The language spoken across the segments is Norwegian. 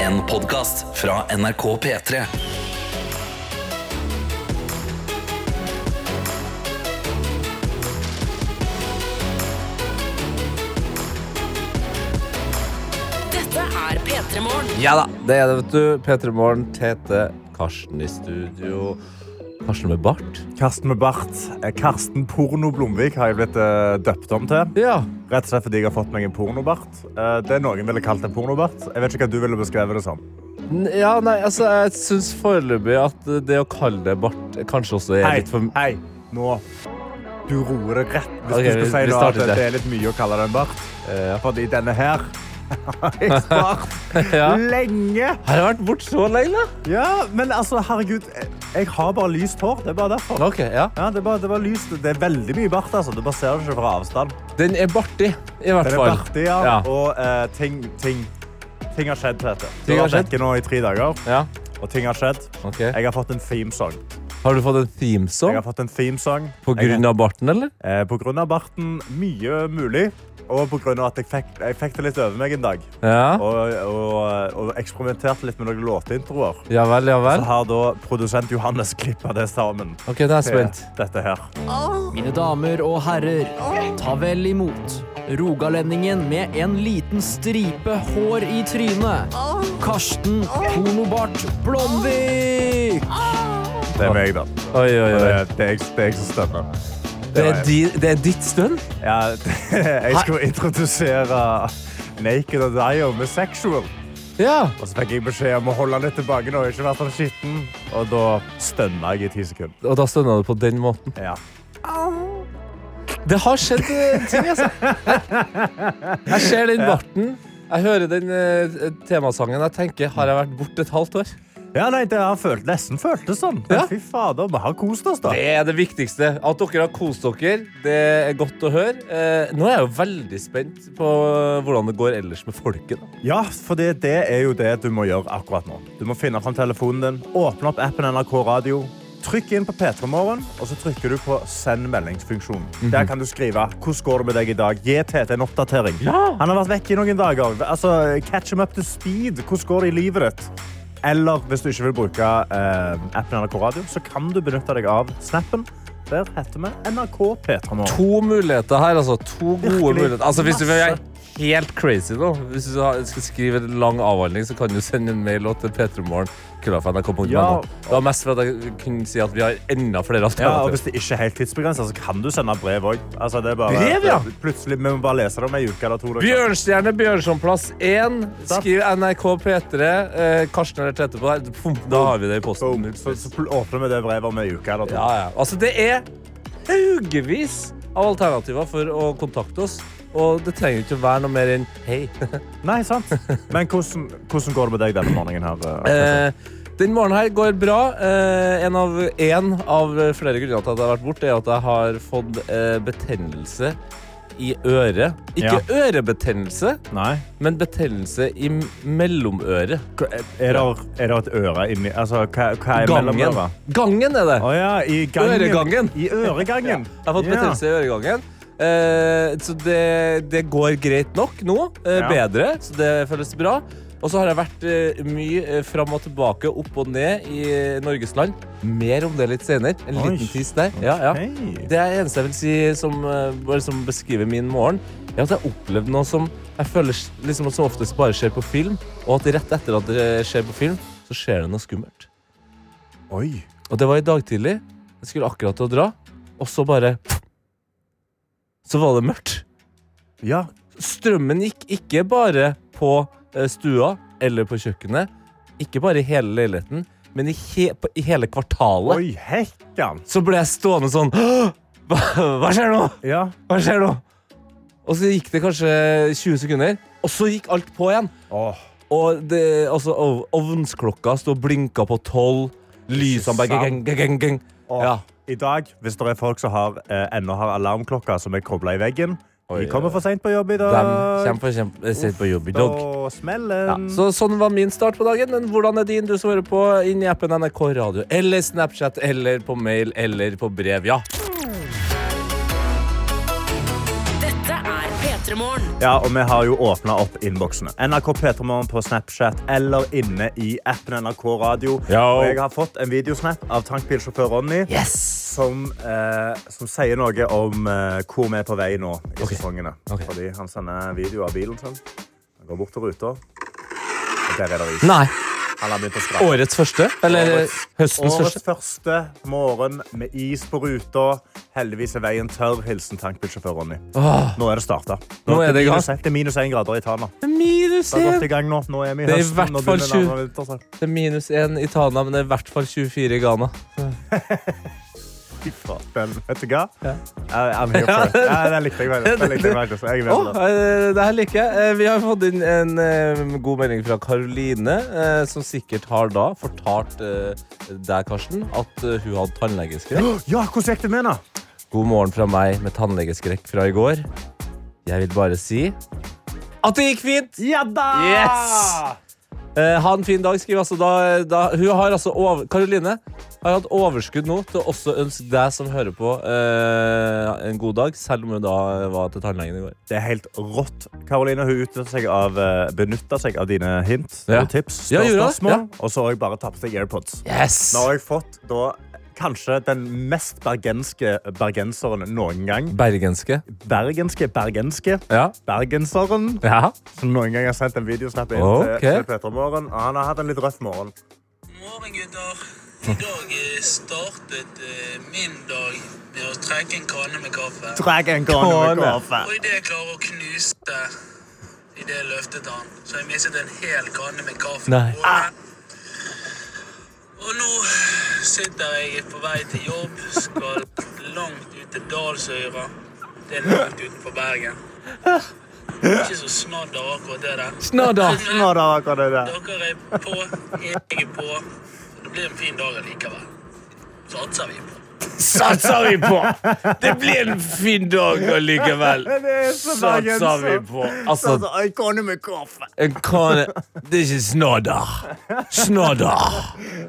En podcast fra NRK P3 Dette er P3 Morgen. Ja da, det er det, vet du. P3 Morgen, Tete, Karsten i studio. Karsten med bart? Karsten med bart. Eh, Karsten Porno Blomvik har jeg blitt eh, døpt om til. Ja. Rett og slett fordi jeg har fått meg en pornobart. Eh, det noen ville kalt en pornobart. Jeg vet ikke hva du ville beskrevet det som. N- ja nei, altså, jeg syns foreløpig at det å kalle det bart kanskje også er Hei, litt for hei, nå. Du roer det rett hvis Ok, du vi- skulle si vi nå starter at der. det er litt mye å kalle det en bart. Eh, ja. Fordi denne her har jeg spart Ja. lenge. Har jeg vært borte så lenge, da? Ja, men altså, herregud, jeg- jeg har bare lyst hår. Det er bare derfor. Ok, ja. Ja, det er, bare, det, er bare lyst. det er veldig mye bart, altså. Du bare ser det ikke fra avstand. Den er bartig, i hvert Den er fall. bartig, ja. Ja. Og eh, ting, ting, ting har skjedd, Tete. Du Ting har har skjedd. vært vekke nå i tre dager, Ja, og ting har skjedd. ok. Jeg har fått en themesong. Har du fått en Jeg themesong har fått en themesong. på Jeg- grunn av barten, eller? Eh, på grunn av barten, mye mulig. Og på grunn av at jeg fikk, jeg fikk det litt over meg en dag. Ja. Og, og, og eksperimenterte litt med noen låtintroer. Ja vel, ja Så vel. har da produsent Johannes klippa det sammen. Ok, da er jeg til spent. Dette her. Mine damer og herrer, ta vel imot rogalendingen med en liten stripe hår i trynet. Karsten Pornobart Blomvik! Det er meg, da. Oi, oi, Det, oi. det, er, jeg, det er jeg som stemmer. Det er, di, det er ditt stønn? Ja, jeg skulle introdusere Naked og Dio med Sexual. Ja. Og så fikk jeg beskjed om å holde litt tilbake nå, ikke være sånn skitten. Og da stønna jeg i ti sekunder. Og da stønna du på den måten? Ja. Det har skjedd eh, ting, altså. Jeg ser den barten. Jeg hører den eh, temasangen. Jeg tenker, har jeg vært borte et halvt år? ja, nei, det har følt, nesten føltes sånn. Men Ja. fy fader, vi har kost oss, da. Det er det viktigste. At dere har kost dere, det er godt å høre. Eh, Nå er jeg jo veldig spent på hvordan det går ellers med folket. da. Ja, for det, det er jo det du må gjøre akkurat nå. Du må finne fram telefonen din, åpne opp appen NRK Radio. Trykk inn på P3 Morgen, og så trykker du på send meldingsfunksjonen. Der kan du skrive hvordan går det med deg i dag. Gi Tete en oppdatering. Han har vært vekk i noen dager. Altså, catch him up to speed. Hvordan går det i livet ditt? Eller hvis du ikke vil bruke eh, appen NRK Radio, så kan du benytte deg av snappen. Der heter vi NRK P3 Morgen. To muligheter her, altså. To gode Virkelig. muligheter. Altså, hvis du vil Masse. være helt crazy nå, hvis du har- skal skrive en lang avhandling, så kan du sende en mail også til p3morgen. Ja. Det var mest for at jeg kunne si at vi har enda flere Ja, og alternativer. hvis det ikke er helt tidsbegrenset, så kan du sende brev òg. Altså, det er bare- Brev, ja. det- Plutselig, vi må bare lese det om ei uke eller to. da. Bjørnstjerne Bjørnsonplass 1. Sant. Skriv NRK P3. Eh, Karsten eller Tete på der. Pum, Da har vi det i posten. Boom. Så, så pl- åpner vi det brevet om ei uke eller to. Ja, ja. Altså, det er haugevis av alternativer for å kontakte oss. Og det trenger jo ikke å være noe mer enn hei. Nei, sant? Men hvordan, hvordan går det med deg denne morgenen her? eh, Eh, den morgenen her går bra. Eh, en, av, en av flere grunner til at jeg har vært borte, er at jeg har fått eh, betennelse i øret. Ikke ørebetennelse, Nei. men betennelse i m- mellomøret. Er det, er det et øre inni Altså, hva, hva er mellom Gangen. øra? Gangen er det. Å ja, i gangen. Øregangen. I øregangen. Jeg har fått betennelse i øregangen. Eh, så det, det går greit nok nå. Eh, Ja. Bedre, så det føles bra. Og så har jeg vært eh, mye eh, fram og tilbake, opp og ned i eh, Norges land. Mer om det litt senere. En Oi. liten tis der. Ja, ja. Ok. Det er eneste jeg vil si som, eh, bare som beskriver min morgen, er at jeg har opplevd noe som jeg føler s- liksom, som oftest bare skjer på film, og at rett etter at det skjer på film, så skjer det noe skummelt. Oi. Og det var i dag tidlig. Jeg skulle akkurat til å dra, og så bare Så var det mørkt. Ja. Strømmen gikk ikke bare på eh, stua eller på kjøkkenet. Ikke bare i hele leiligheten, men i, he på, i hele kvartalet. Oi, hekkan. Så ble jeg stående sånn «Åh! Hva, hva skjer nå? Ja. Hva skjer nå? Og så gikk det kanskje 20 sekunder, og så gikk alt på igjen. Åh. Og det, altså, ov- ovnsklokka sto og blinka på tolv. Lysene bare geng, geng, geng, geng. Og Ja. I dag, hvis det er folk som har, eh, ennå har alarmklokka som er kobla i veggen Oi, De kommer for seint på jobb i De dag. kommer for kjempe, sent på jobb i dag. Og smellen. Ja, så sånn var min start på dagen. Men hvordan er din, du som hører på? Inn i appen NRK Radio eller Snapchat eller på mail eller på brev. Ja. Dette er P3 Petremorne. Ja, og vi har jo åpna opp innboksene. NRK P3morgen på Snapchat eller inne i appen NRK Radio. Ja. Og jeg har fått en videosnap av tankbilsjåfør Ronny som, eh, som sier noe om eh, hvor vi er på vei nå i sesongene. Ok. Fordi han sender video av bilen sin. Han går bort til ruta. Og der er det is. Nei. Han har begynt å skrape. Årets første? Eller Årets- høstens Årets første? første morgen med is på ruta. Heldigvis er veien tørr. Hilsen tankbilsjåfør Ronny. Åh, Nå er det starta. Nå er det i gang. Det er minus én grader i Tana. minus Det er godt én! i gang nå. Nå er vi i Det er i høsten. hvert Nå fall begynner tjue- nærmere vinter, så. Det er minus én i Tana, men det er i hvert fall 24 i Ghana. Fy faen. Vel, Vet du hva? Ja. I- I'm here for it. Ja, Den likte jeg faktisk. Den likte jeg faktisk. Jeg er med Å, på det. eh, det her liker jeg. Eh, Vi har fått inn en eh, god melding fra Karoline, eh, som sikkert har da fortalt eh, deg, Karsten, at eh, hun hadde tannlegeskrekk. Ja, hvordan gikk det med henne? God morgen fra meg med tannlegeskrekk fra i går. Jeg vil bare si at det gikk fint! Ja da! Yes! Eh, ha en fin dag, skriver altså da, da Hun har altså over... Karoline har hatt overskudd nå til å også ønske deg som hører på, eh, en god dag, selv om hun da var til tannlegen i går. Det er helt rått. Karoline hun utnytter seg av, eh, benytter seg av dine hint Ja. og tips. Ja, og gjorde det. spørsmål, Og så har jeg bare tappet deg AirPods. Yes! Nå har jeg fått da, kanskje den mest bergenske bergenseren noen gang. Bergenske. Bergenske bergenske Ja. bergenseren. ja. som noen gang har sendt en videosnap inn Ok. til, til Peter Morgen. Og han har hatt en litt røff morgen. Morgen, gutter. I dag eh, startet eh, min dag med å trekke en kanne med kaffe. Dragon gone med kaffe. Og idet jeg klarer å knuse idet jeg løftet han, så har jeg mistet en hel kanne med kaffe. Nei. på hodet. Og nå sitter jeg på vei til jobb, skal langt ut til Dalsøyra. Det er langt utenfor Bergen. Ikke så snadder akkurat det der. Snadder. Nå da, hva er det? Dere er på, jeg er på. Det blir en fin dag allikevel. Satser vi på. Satser vi på! Det blir en fin dag allikevel. Det er så Satser Sånn vi bergenser. på. Altså, Altså, en kanne med kaffe. en kan Det er ikke snadder. Snadder.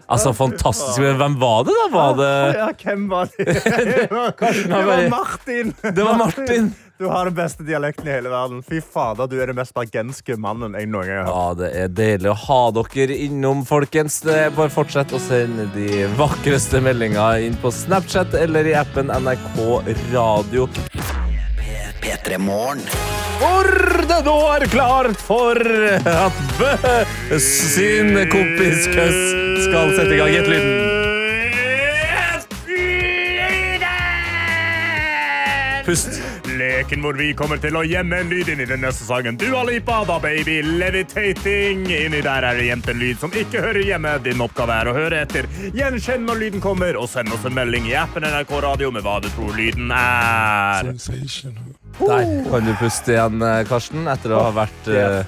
Altså, fantastisk. Men hvem var det, da? Var det Ja, hvem var det? Det var, det var bare- Martin. Det var Martin. Du har den beste dialekten i hele verden. Fy fader, du er den mest bergenske mannen jeg noen gang har hørt. Ja, det er deilig å ha dere innom, folkens. Det er Bare fortsett å sende de vakreste meldingene inn på Snapchat eller i appen NRK Radio. P3 Morgen. For det nå er klart for at Bø sin kompis Køss skal sette i gang. Gjett lyden. Pust. Leken hvor vi kommer til å gjemme en lyd inn i den neste sangen. Du har lipa, da baby, levitating. Inni der er det gjemt en lyd som ikke hører hjemme. Din oppgave er å høre etter. Gjenkjenn når lyden kommer, og send oss en melding i appen NRK Radio med hva du tror lyden er. Der kan du puste igjen, eh, Karsten, etter å ha vært uh,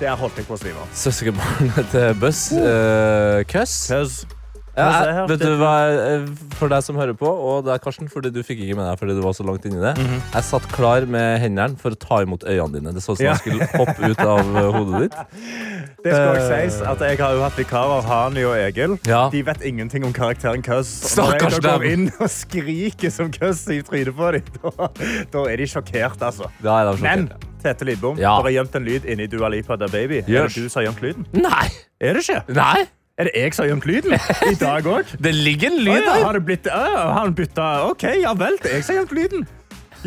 Der holdt jeg på å svime. søskenbarnet til Bøss. eh, Køss. Køss er Ja, her. vet du hva, eh, for deg som hører på, og deg, Karsten, fordi du fikk ikke med deg fordi du var så langt inni det. Jeg satt klar med hendene for å ta imot øynene dine. Det så ut som Ja. jeg skulle hoppe ut av eh, hodet ditt. Det skal også sies at jeg har jo hatt vikarer Hani og Egil. Eh. Ja. De vet ingenting om karakteren Køss. Og Når Stakkars jeg da går dem. inn og skriker som Køss i trynet på dem, da, da er de sjokkert, altså. Da er de sjokkert. Men Tete Lidbom, Ja. der er gjemt en lyd inni Dua Lipa Da Baby. Er Yes. det du som har gjemt lyden? Nei! Er det ikke? Nei! Er det jeg som har gjemt lyden? I dag òg? Det ligger en lyd ja, der. har det blitt Å, Har han bytta OK, ja vel. Det er jeg som har gjemt lyden.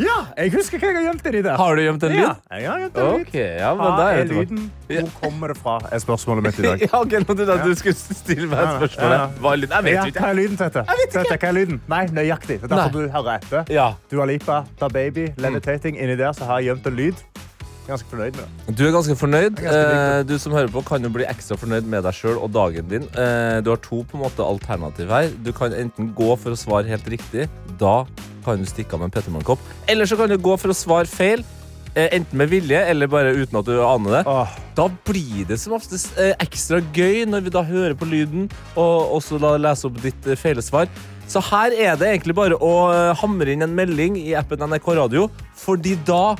Ja, jeg husker hva jeg har gjemt inni der. Har du gjemt en lyd? Ja, jeg har gjemt en lyd. Ok, ja, men da Hva er er jeg tilbake. lyden? Hvor kommer det fra? Er spørsmålet mitt i dag. Ja, ok, nå trodde jeg at du skulle stille meg et Ja, spørsmål. ja. Hva er lyden? Jeg vet jo Ja, ikke. hva er lyden, Tete? Tete, hva er lyden? Nei, nøyaktig. Det er derfor Nei. du hører etter. Ja. Mm. Dua Lipa, Da Baby, Levitating. Inni der så har jeg gjemt en lyd. Ganske fornøyd med det. Du er ganske fornøyd. Jeg er ganske Eh, Du som hører på, kan jo bli ekstra fornøyd med deg sjøl og dagen din. Eh, Du har to på en måte alternativ her. Du kan enten gå for å svare helt riktig. Da kan du stikke av med en Pettermann-kopp. Eller så kan du gå for å svare feil. eh, Enten med vilje eller bare uten at du aner det. Åh, Da blir det som oftest eh, ekstra gøy når vi da hører på lyden og også da leser opp ditt eh, feilsvar. Så her er det egentlig bare å eh, hamre inn en melding i appen NRK Radio, fordi da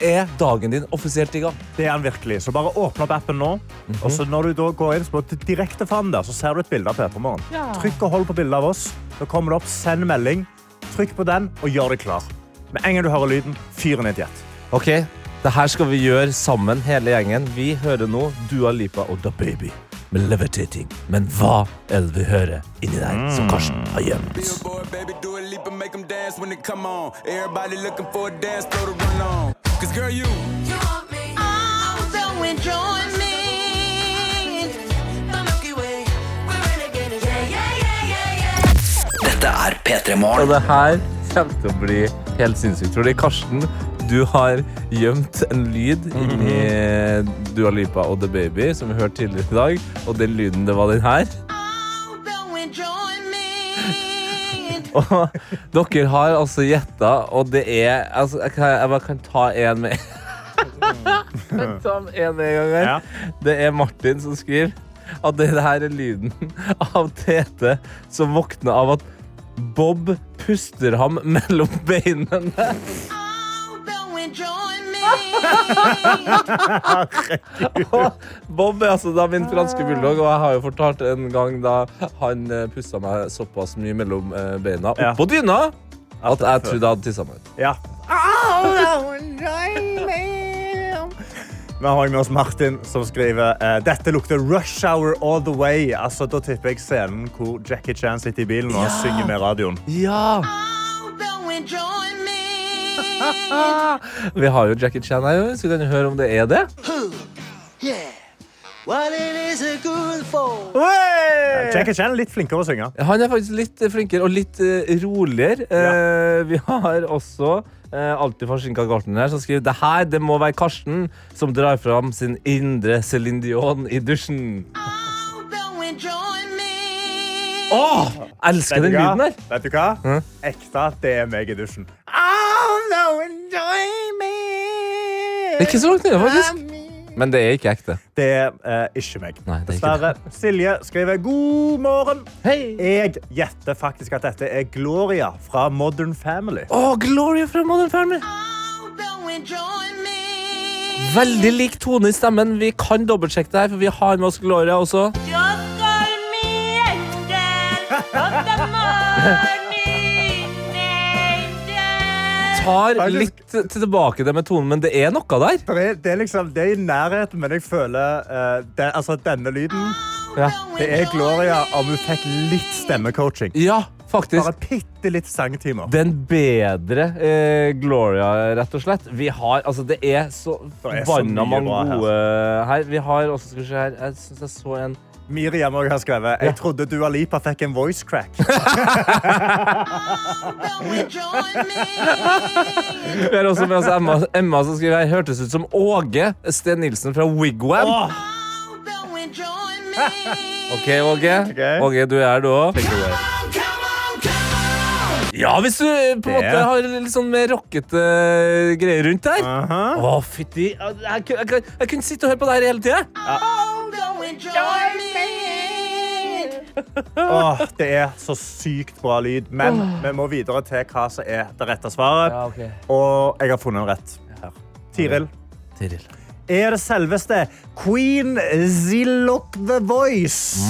er dagen din offisielt i gang. det er han virkelig. Så bare åpne opp appen nå. Mhm. Og så når du da går inn så må du direkte fram der, så ser du et bilde av Peter Morgen. Trykk og hold på bildet av oss. Da kommer det opp send melding. Trykk på den og gjør deg klar. Med en gang du hører lyden, fyr ned et hjert. Ok, Det her skal vi gjøre sammen, hele gjengen. Vi hører nå Dua Lipa og Da Baby med Levitating. Men hva er det vi hører inni der som Karsten har gjemt? Billboard, baby, do a leap and make 'em dance when they come on. Everybody looking for a dance floor to run on. Cause girl, you. Oh, Dette er P3 Og Morgen. det her kommer til å bli helt sinnssykt. Fordi Karsten, du har gjemt en lyd inni Dua Lipa og The Baby, som vi hørte tidligere i dag. Og den lyden, det var den her. Oh, Og dere har altså gjetta, og det er altså, jeg, kan, jeg bare kan ta én med Jeg kan Ta med en med en gang her. Ja. Det er Martin som skriver at det her er lyden av Tete som våkner av at Bob puster ham mellom beinene. Oh, Og Bob er altså da min franske bulldog, og jeg har jo fortalt en gang da han eh, pussa meg såpass mye mellom eh, beina Ja. oppå dyna at jeg trodde jeg hadde tissa meg ut. Ja. Vi har også med oss Martin, som skriver eh, Dette lukter rush hour all the way. Altså, da tipper jeg scenen hvor Jackie Chan sitter i bilen og synger med radioen. Ja! Oh, Vi har jo Jackie Chan her, så vi kan jo høre om det er det. Jackie Chan er litt flinkere å synge. Han er faktisk litt eh, flinkere og litt eh, roligere. Eh, vi har også eh, alltid forsinka Garten her, som skriver det her det må være Karsten som drar fram sin indre Céline Dion i dusjen. Åh, elsker den lyden der! Vet du hva? Ekte, det er meg i dusjen. Det er ikke så langt nede, faktisk. Men det er ikke ekte. Det er eh, ikke meg. Nei, det er ikke Dessverre. Silje skriver god morgen. Hei! Jeg gjetter faktisk at dette er Gloria fra Modern Family. Å, Gloria fra Modern Family! Oh, Veldig lik tone i stemmen. Vi kan dobbeltsjekke det her, for vi har med oss Gloria også. Tar litt Faktisk- tilbake det med tonen, men det er noe der. Det er, det er liksom, det er i nærheten, men jeg føler eh, det, altså, denne lyden Ja, Det er Gloria om hun fikk litt stemmecoaching. ja faktisk. Bare bitte litt sangtimer. den bedre eh, Gloria, rett og slett. Vi har, altså Det er så Det er så forbanna mye mange bra her. altså. gode her. Vi har også, skal vi se her Jeg syns jeg så en Miriam også har skrevet Jeg trodde Dua Lipa fikk en voice crack. Oh, Vi har også med oss Emma, Emma som skriver her. Hørtes ut som Åge Sten Nilsen fra Wigwam. Oh, OK, Åge. Ok. Åge, du er her, du òg. Ja, hvis du eh, på en Det- måte har litt sånn mer rockete eh, greier rundt der. Aha. Å, fytti jeg, jeg, kunne- jeg, kunne- jeg kunne sitte og høre på det her hele tida. Åh, det er så sykt bra lyd. Men vi må videre til hva som er det rette svaret. Ja, ok. Og jeg har funnet en rett her. Tiril. Tiril. Er det selveste Queen Zilloch The Voice?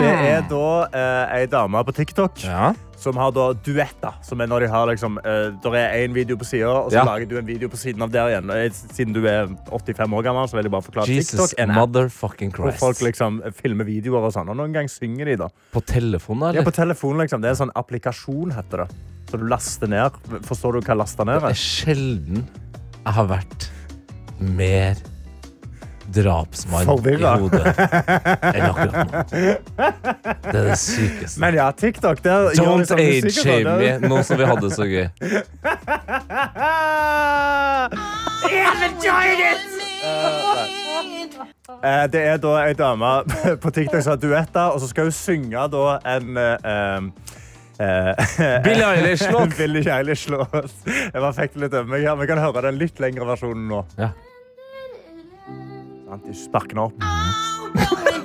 Det er da eh, ei dame på TikTok Mm. Ja. som har da duetter. Som er når de har liksom, eh, der er én video på sida, og så Ja. lager du en video på siden av der igjen. Eh, Siden du er 85 år gammel, så vil jeg bare forklare Jesus TikTok. er en app motherfucking Hvor Christ. folk liksom filmer videoer og sånn. Og noen ganger synger de, da. På telefonen, Ja, eller? på telefonen, liksom. Det er en sånn applikasjon, heter det. Så du laster ned. Forstår du hva laster ned Det er er? sjelden jeg har vært mer drapsmann Forvirra. i hodet enn akkurat nå. Det er det sykeste. Men ja, TikTok, der gjør de Don't sånn musikk age og sånn. shame Det er- me, nå som vi hadde det så gøy. Ah! Eh, Det er da ei dame på TikTok som har duetter, og så skal hun synge da en eh, eh, Billie Eilish-låt. Billie Eilish-låt. Jeg bare fikk det litt over meg her, men jeg kan høre den litt lengre versjonen nå. Ja. Sant, Ikke spark den opp.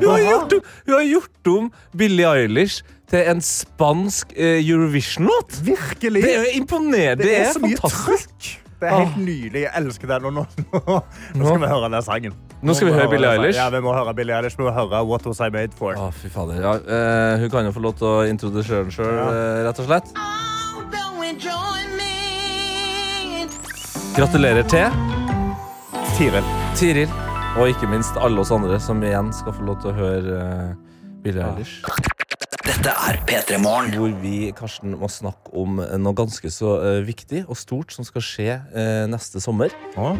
Hun har gjort om, hun har gjort om Billie Eilish til en spansk eh, Eurovision-låt! Virkelig! Det er jo imponerende. Det er så mye fantastisk. trøkk. Det er helt nydelig. Jeg elsker den. Og nå, nå, nå skal vi høre den sangen. Nå skal vi høre Billie Eilish. Ja, vi må høre Billie Eilish. Vi må høre What Was I Made For. Å, fy fader. Ja, eh, hun kan jo få lov til å introdusere den sjøl, eh, rett og slett. Gratulerer til Tiril. Tiril, og ikke minst alle oss andre som igjen skal få lov til å høre eh, Billie Eilish. Dette er P3 Morgen. Hvor vi Karsten, må snakke om eh, noe ganske så eh, viktig og stort som skal skje eh, neste sommer. Å?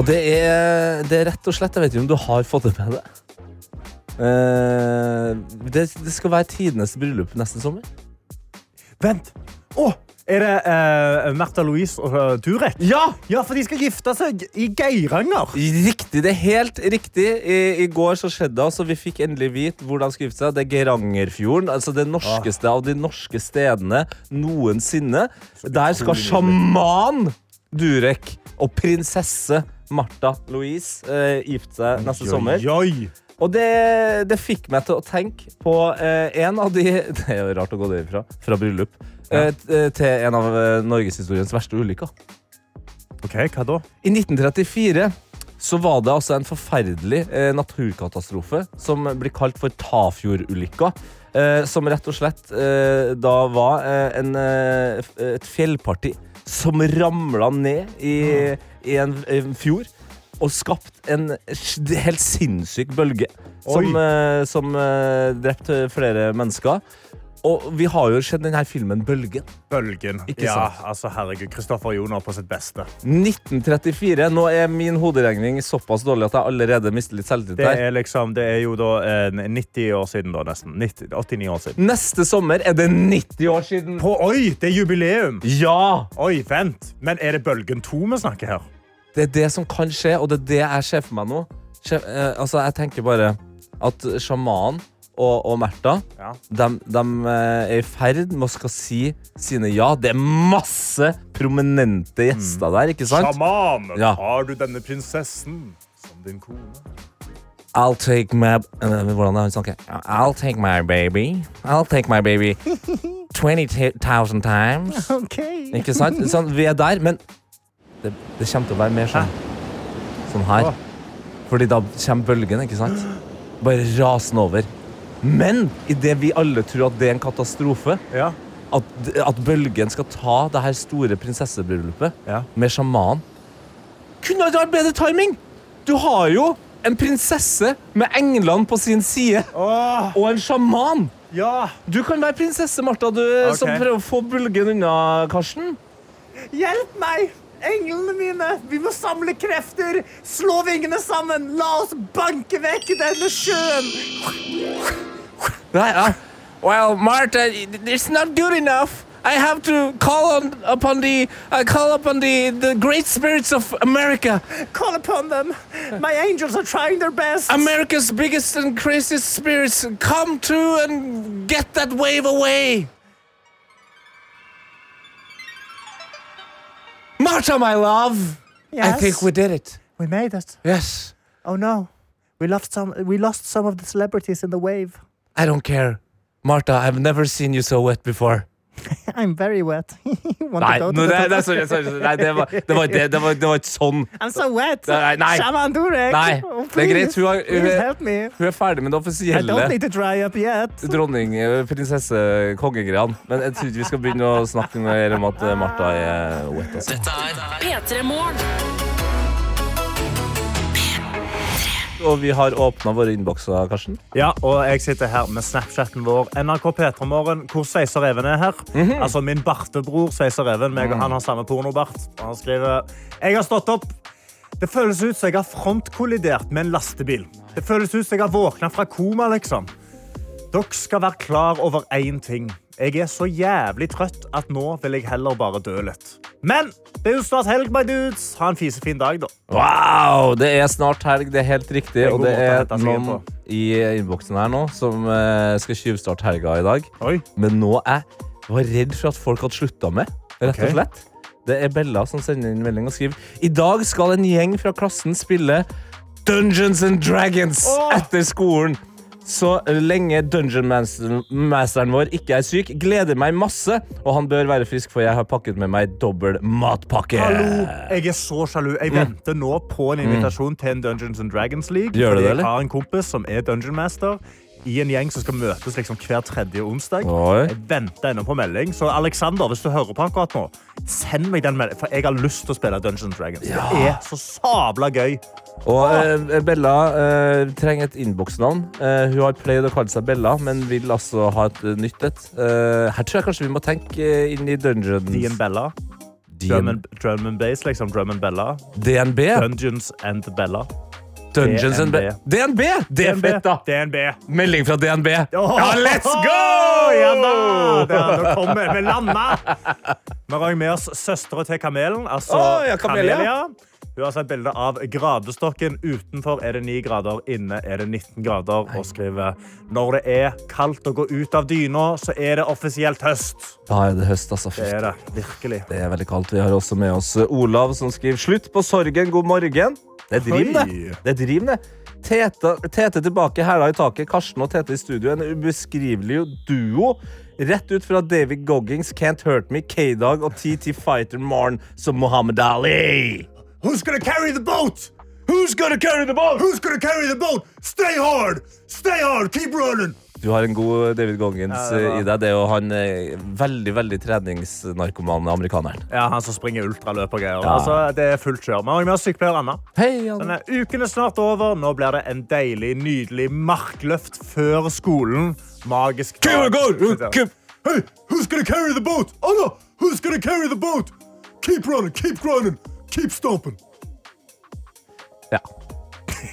Og det er, det er rett og slett Jeg vet ikke om du har fått det med deg. Eh, det, det skal være tidenes bryllup neste sommer. Vent! Å! Er det eh, Märtha Louise og eh, Durek? Ja! Ja, for de skal gifte seg i Geiranger. Riktig, det er helt riktig. I, i går så skjedde det, altså vi fikk endelig vite hvor de skulle gifte seg. Det er Geirangerfjorden, altså det norskeste av de norske stedene noensinne. Der skal sjaman Durek og prinsesse Martha Louise eh, gifte seg neste sommer. Oi, Og det, det fikk meg til å tenke på eh, en av de Det er jo rart å gå derifra, fra bryllup, eh, t- til en av eh, norgeshistoriens verste ulykker. oi. OK, hva da? I 1934 så var det altså en forferdelig eh, naturkatastrofe som blir kalt for Tafjordulykka. Eh, som rett og slett eh, da var eh, en, eh, f- et fjellparti som ramla ned i, i en, en fjord. Og skapt en s- helt sinnssyk bølge som, eh, som eh, drepte flere mennesker. Og vi har jo sett denne filmen Bølgen. Bølgen. Ikke ja, sant. altså herregud. Kristoffer Joner på sitt beste. 1934. Nå er min hoderegning såpass dårlig at jeg allerede mister litt selvtillit Det her. er, liksom, det er jo da eh, 90 år siden, da, nesten. 90, 89 år siden. Neste sommer er det 90 år siden. På, oi, det er jubileum! Ja! Oi, vent. Men er det Bølgen 2 vi snakker her? Det er det som kan skje, og det er det jeg ser for meg nå. Skje, eh, altså, jeg tenker bare at sjamanen og, og Märtha Ja. de, er i ferd med å skal si sine ja. Det er masse prominente gjester der, ikke sant? Mm. Sjaman, Ja. har du denne prinsessen som din kone? I'll take my eh, Hvordan er han snakker? I'll take my baby. I'll take my baby 20,000 times. Ikke sant? Sånn, vi er der, men det, det kommer til å være mer sånn, sånn her. Åh. Fordi da kommer bølgen, ikke sant? Bare rasende over. Men idet vi alle tror at det er en katastrofe, Ja. at, at bølgen skal ta det her store prinsessebryllupet Ja. med sjaman Kunne det vært bedre timing? Du har jo en prinsesse med englene på sin side, Åh, og en sjaman. ja. Du kan være prinsesse Martha, du, som Ok. prøver å få bølgen unna, Karsten. Hjelp meg! Englene mine! Vi må samle krefter! Slå vingene sammen! La oss banke vekk denne sjøen! Nei, ja. Well, Martha, it's not good enough. I have to call on, upon the I call upon the, the great spirits of America, Call upon them! My angels are trying their best! America's biggest and craziest spirits. Come through and get that wave away. Martha, my love. I think we did it. We made it. Yes, Oh no. We lost some we lost some of the celebrities in the wave. I don't care. Martha, I've never seen you so wet before. I'm very wet. Want Nei, to go to nå- the nei, top? nei, sorry, sorry, sorry. nei det var det var- det- det var- det var ikke sånn. I'm so wet. Nei, nei. Shaman Durek. Nei, Oh, det er greit. Hun, har, Please hun, help me. hun er ferdig med I det don't offisielle need to dry up yet. dronning, eh, prinsesse, kongegreiene. Men jeg tror ikke vi skal begynne å snakke noe mer om at eh, Martha er wet. Altså. P3 Morgen. Og vi har åpna våre innbokser, Karsten. Ja, og jeg sitter her med Snapchatten vår, NRK Petremorgen, hvor Sveiser Even er her. Altså min bartebror Sveiser Even, meg og han har samme pornobart. Og Han skriver, jeg har stått opp. Det føles ut som jeg har frontkollidert med en lastebil. Det føles ut som jeg har våknet fra koma, liksom. Dere skal være klar over én ting. Jeg er så jævlig trøtt at nå vil jeg heller bare dø litt. Men det er jo snart helg, my dudes. Ha en fisefin dag, da. Wow! Det er snart helg, det er helt riktig. er en Og god det måte å er hente seg inn noen i innboksen her nå som eh, skal tjuvstarte helga i dag. Oi. Men nå er jeg var redd for at folk hadde slutta med. Rett og Ok. slett. Det er Bella som sender inn melding og skriver I dag skal en gjeng fra klassen spille Dungeons and Dragons Åh! etter skolen. Så lenge Dungeon Masteren- Masteren vår ikke er syk, gleder meg masse. Og han bør være frisk, for jeg har pakket med meg dobbel matpakke. Hallo! Eh. Jeg er så sjalu. Jeg venter nå på en invitasjon til en Dungeons and Dragons League. Mm. Gjør du det, fordi eller? Jeg har en kompis som er Dungeon Master i en gjeng som skal møtes liksom hver tredje onsdag. Oi. Jeg venter ennå på melding. Så Alexander, hvis du hører på akkurat nå, send meg den meldingen. For jeg har lyst til å spille Dungeons and Dragons. Det er så sabla gøy. Og Ah. eh, Bella eh, trenger et innboksnavn. Eh, hun har pleid å kalle seg Bella, men vil altså ha et eh, nytt et. Eh, her tror jeg kanskje vi må tenke eh, inn i Dungeons Dean Bella. Drum and, drum and bass, liksom. Drum and Bella. DNB? Dungeons and Bella. Dungeons and Be- DNB! Det er fett, da! DNB. E Melding fra DNB. Åh! Ja, let's go! Ja da! Der, nå kommer vi. Vi landa! Vi har også med oss søstera til Kamelen, altså Åh, ja, Kamelia. Hun har sett bilde av gradestokken. Utenfor er det 9 grader, inne er det 19 grader. Og skriver når det er kaldt å gå ut av dyna, så er det offisielt høst. Da er det høst, altså. Det Fy, er det. Virkelig. Det er veldig kaldt. Vi har også med oss eh, Olav, som skriver 'Slutt på sorgen, god morgen'. Det er drim, det. Oi. det, er drim, det. Tete, tete tilbake, hæla i taket, Karsten og Tete i studio. En ubeskrivelig duo. Rett ut fra David Goggins, Can't Hurt Me, K-Dag og TT Fighter Morn som Muhammad Ali. Who's gonna carry the boat? Who's gonna carry the boat? Who's gonna carry the boat? Stay hard! Stay hard! Keep running! Du har en god David Goggins det er eh, i deg. Det er jo han eh, veldig, veldig treningsnarkomane amerikaneren. Ja, han som springer ultraløp og greier. Ja. Altså, det er fullt kjør. Vi har også med oss sykepleier Anna. Hei, Jan. Denne uken er snart over. Nå blir det en deilig, nydelig markløft før skolen. Magisk dag. Here we go! Keep- Hey, who's gonna carry the boat? Anna, who's gonna carry the boat? Keep running, keep grinding, keep stomping. Ja.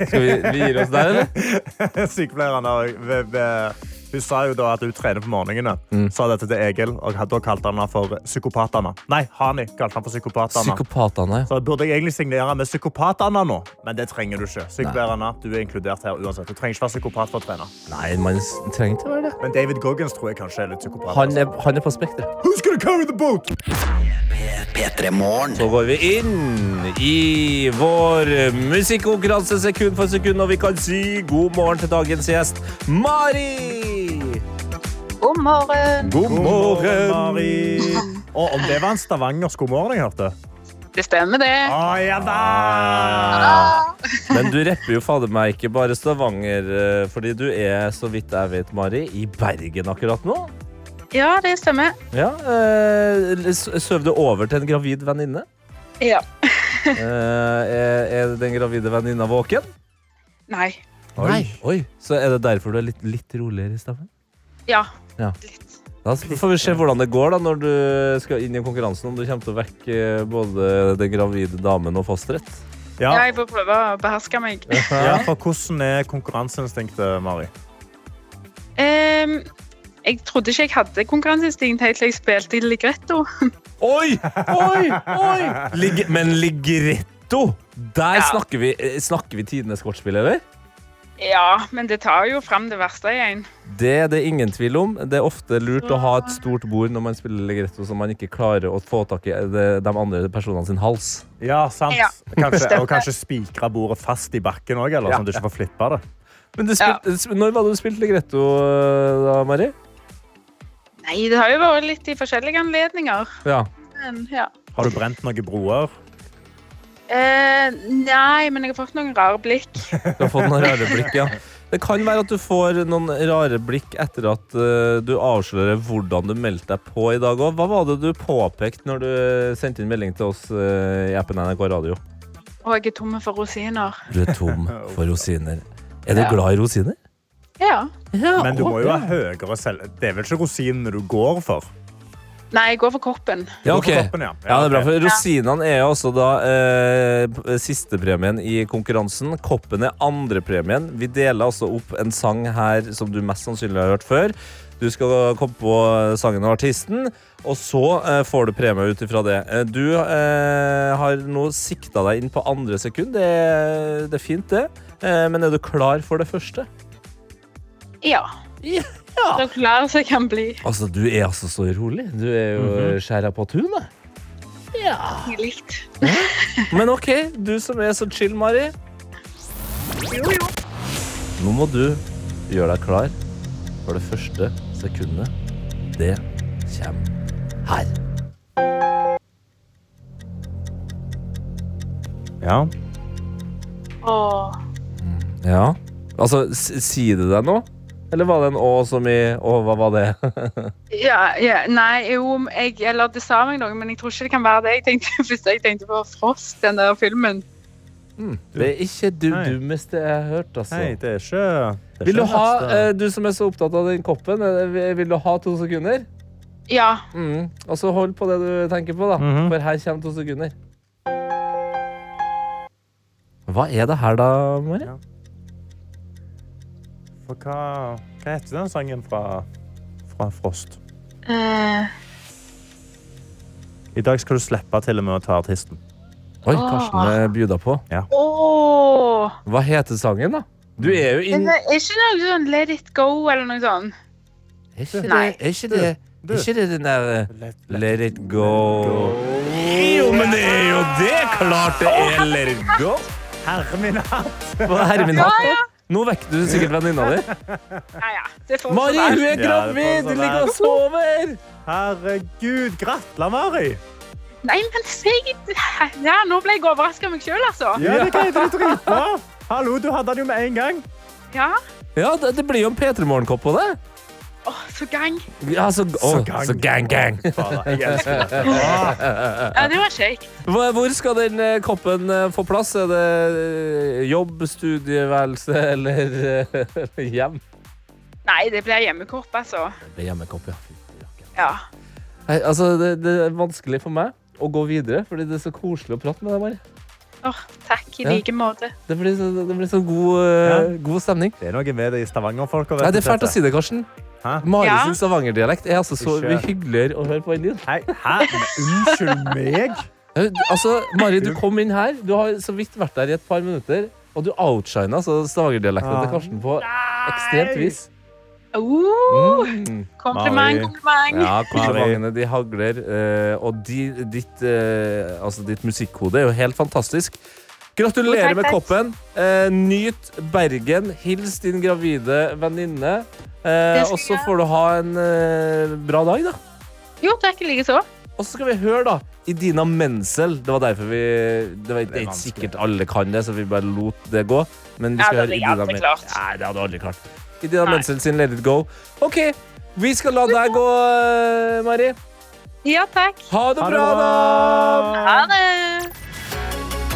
Skal vi, vi gir oss der, eller? Sykepleier Anna og- v- v- hun sa jo da at hun trener på morgenene. Sa dette til Egil, og da kalte han henne for Psykopat-Anna. Nei, Hani kalte han for Psykopat-Anna. Psykopatene. Så burde jeg egentlig signere med psykopat-Anna nå, men det trenger du ikke. Sykepleier-Anna, du er inkludert her uansett. Du trenger ikke være psykopat for å trene. Nei, man s- trenger ikke være det. Men David Goggins tror jeg kanskje er litt psykopat. Han er, han er på spekteret. Who's gonna carry the boat? P3 Morgen. Så går vi inn i vår musikkonkurranse sekund for sekund, og vi kan si god morgen til dagens gjest, Mari! God morgen! God Mari. Å, om det var en stavangersk god morgen jeg hørte. Det stemmer, det. Å, ja da! Ah. Men du rapper jo fader meg ikke bare Stavanger, eh, fordi du er, så vidt jeg vet, Mari, i Bergen akkurat nå. Ja, det stemmer. Ja, eh, s- Søv du over til en gravid venninne? Ja. Eh, er, er den gravide venninna våken? Nei. Oi. Oi. Så er det derfor du er litt, litt roligere i stemmen? Ja. Ja. Litt. Da får vi se hvordan det går da når du skal inn i konkurransen. Om du kommer til å vekke både den gravide damen og fosteret. Ja. Jeg får prøve å beherske meg. ja, for hvordan er konkurranseinstinktet, Mari? Ehm, jeg trodde ikke jeg hadde konkurranseinstinkt helt til jeg spilte i Ligretto. Oi! Oi! Oi! Lig men Ligretto! Der snakker vi, eh, snakker vi tidenes kortspill, eller? Ja, men det tar jo fram det verste i en. Det er det ingen tvil om. Det er ofte lurt å ha et stort bord når man spiller Ligretto, så man ikke klarer å få tak i eh, det- de andre personene sin hals. Ja, sant. Ja. Kanskje, og kanskje spikre bordet fast i bakken òg, eller sånn at du ikke får flippa det. Men du spil- Når var det du spilte Ligretto, eh, da, Mari? Nei, det har jo vært litt i forskjellige anledninger. Ja. Men, ja. Har du brent noen broer? Eh, nei, men jeg har fått noen rare blikk. Du har fått noen rare blikk, ja. Det kan være at du får noen rare blikk etter at eh, du avslører hvordan du meldte deg på i dag òg. Hva var det du påpekte når du sendte inn melding til oss eh, i appen NRK Radio? Og jeg er tomme for rosiner. Du er tom for rosiner. Er du glad i rosiner? Ja. Men du må jo ha høyere selv... Det er vel ikke rosinene du går for? Nei, jeg går for koppen. Ja, Gå ok. for toppen, ja. ja. det er bra, for Rosinene er jo også da eh, sistepremien i konkurransen. Koppen er andrepremien. Vi deler altså opp en sang her som du mest sannsynlig har hørt før. Du skal komme på sangen og artisten, og så eh, får du premie ut ifra det. Eh, Du eh, har nå sikta deg inn på andre sekund. Det, er- det er fint, det. Eh, men er du klar for det første? Ja. Ja. Så klar som jeg kan bli. Altså, Du er altså så rolig. Du er jo eh, skjæra på tunet. Likt. Men ok, du som er så chill, Mari. Nå må du Gjør deg klar for det første sekundet. Det kommer her. Ja. Åh. Ja. Altså, s- sier det deg noe? Eller var det en Å som i Å, hva var det? Ja, ja, nei, jo, jeg, eller det sa meg noe, men jeg tror ikke det kan være det. Jeg tenkte, hvis jeg tenkte på Frost, den der filmen. Det er ikke du Hei. dummeste jeg har hørt, altså. Nei, det er ikke det er Vil du ikke ha, verst, det. eh, du som er så opptatt av den koppen, eh, vil du ha to sekunder? Ja, Mm. Og så hold på det du tenker på, da. Mhm. For her kommer to sekunder. Hva er det her, da, Mari? For hva, hva heter den sangen fra, fra Frost? eh, I dag skal du slippe til og med å ta artisten. Oi, Karsten er bjuda på. åh. Hva heter sangen, da? Du er jo Men inn... det er ikke noe sånn Let it go, eller noe sånn? sånt. Er ikke det, Nei. er ikke det, Du. er ikke det den der eh, Let- Let it go. Jo, men det er jo det! Klart det er let it go. Herre min hatt! Hva er herre min hatt? Nå vekker du sikkert venninna di. Ja, ja, det får Mari, være. hun er sånn det får gravid! så Hun ligger og være. sover! Herregud, gratulerer, Mari! Nei, men se, jeg- ja, nå ble jeg overrasket av meg selv, altså. Ja, det kan jeg dritbra! Hallo, du hadde den jo med en gang. Ja, Ja, det, det blir jo en P3 Morgenkopp på det. åh, så gang. Ja, så, å, så gang, gang. Bare, jeg elsker det. Ja, det var kjekt. Hva- Hvor skal den eh, koppen eh, få plass? Er det eh, jobb, studieværelse eller eh, hjem? Nei, det blir hjemmekorp, altså. Det er hjemmekopp, ja. Fy rakker. Ja. Nei, altså, det, det er vanskelig for meg å gå videre, fordi det er så koselig å prate med deg, Mari. Åh, takk i Ja. like måte. Det blir så, det blir så god, eh, god stemning. Det er noe med det i Stavanger-folka. vet Nei, det er du, fælt å dette. si det, Karsten. Hæ? Mari Ja. sin stavangerdialekt er altså så mye Ikke. hyggeligere å høre på enn din. Hei, hæ? Unnskyld meg? Ja, du- Altså, Mari, du kom inn her. Du har så vidt vært der i et par minutter. Og du outshina altså, stavangerdialekten til Karsten på ekstremt vis. Åh, Mm. Uh, kompliment, Mari. kompliment. Ja, komplimentene de hagler. eh, Og de, ditt, eh, altså, ditt musikkhode er jo helt fantastisk. Gratulerer Jo, takk, med takk. koppen. Eh, Nyt Bergen. Hils din gravide venninne. Eh, Det skal Og så jeg. får du ha en eh, bra dag, da. Jo, takk i like så. Og så skal vi høre, da. Idina Menzel. Det var derfor vi Det, var, det er ikke vanskelig. sikkert alle kan det, så vi bare lot det gå. Men vi Ja, skal det høre hadde jeg Idina aldri Men- klart. Nei, det hadde du aldri klart. Idina Nei. Menzel sin Let it go. OK, vi skal la deg gå, eh, Mari. Ja, takk. Ha det Ha det bra, da! bra. Ha det.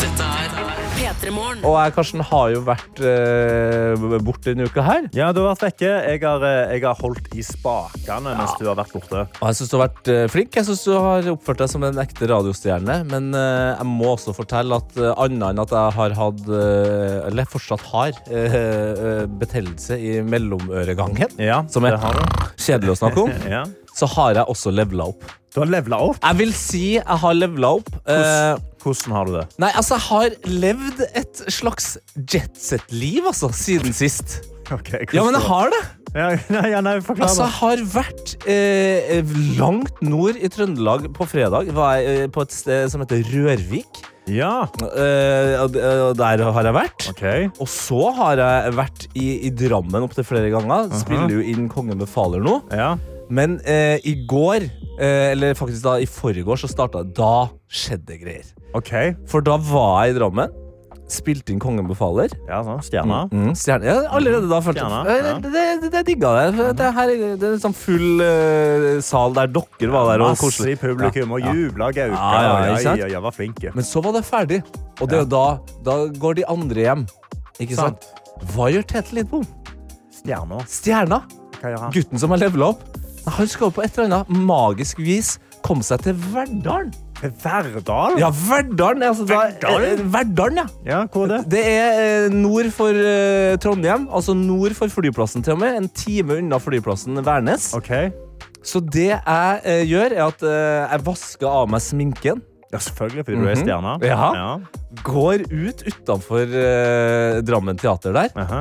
Dette er P3 Morgen. Og jeg, Karsten, har jo vært eh, borte denne uka her. Ja, du har vært vekke. Jeg har, eh, jeg har holdt i spakene mens du har vært borte. Og jeg syns du har vært eh, flink. Jeg synes du har oppført deg som en ekte radiostjerne. Men eh, jeg må også fortelle at eh, annet enn at jeg har hatt eh, Eller fortsatt har eh, eh, betennelse i mellomøregangen, Ja, som er det har du. kjedelig å snakke om, Ja. så har jeg også levela opp. Du har levela opp. Jeg vil si jeg har levela opp. eh, Hvordan har du det? nei, altså, jeg har levd et slags jetset-liv, altså, siden sist. Ok, hvordan- Ja, men jeg har det. Ja, nei, ja, nei, forklar Altså, det. jeg har vært eh, langt nord i Trøndelag på fredag. Var jeg eh, på et sted som heter Rørvik. Ja, Eh, og d- og der har jeg vært. ok. Og så har jeg vært i, i Drammen opptil flere ganger. Spiller jo inn Kongen befaler nå. Ja. Men eh, i går, eh, eller faktisk da i forgårs, så starta Da skjedde greier. Ok. For da var jeg i Drammen. Spilte inn Kongen befaler. Ja, sånn. Stjerna. Mm, stjerne. Ja, allerede da følte Stjerne, jeg ja. det, det, det digga jeg. For Det, her, er- det er en sånn full eh, sal der dere var der. Og Masse i koselig. publikum og Ja. jubla gauka. Ja, ja, Ja, ikke sant? ja, ja, var flinke. Men så var det ferdig, og det er jo da, da går de andre hjem. Ikke sant? Hva gjør Tete Lidbom? Stjerna. Stjerna, Hva gjør han? gutten som har levela opp, han skal jo på et eller annet magisk vis komme seg til Verdalen. Til Verdal? Ja, Verdalen! er Altså, da, Verdalen? eh, Verdalen, ja. Ja, hvor er det? Det er eh, nord for eh, Trondheim, altså nord for flyplassen til og med. En time unna flyplassen Værnes. Ok. Så det jeg eh, gjør, er at eh, jeg vasker av meg sminken, Ja, selvfølgelig, fordi du er Mhm. stjerna. Ja. går ut utanfor eh, Drammen teater der, Aha.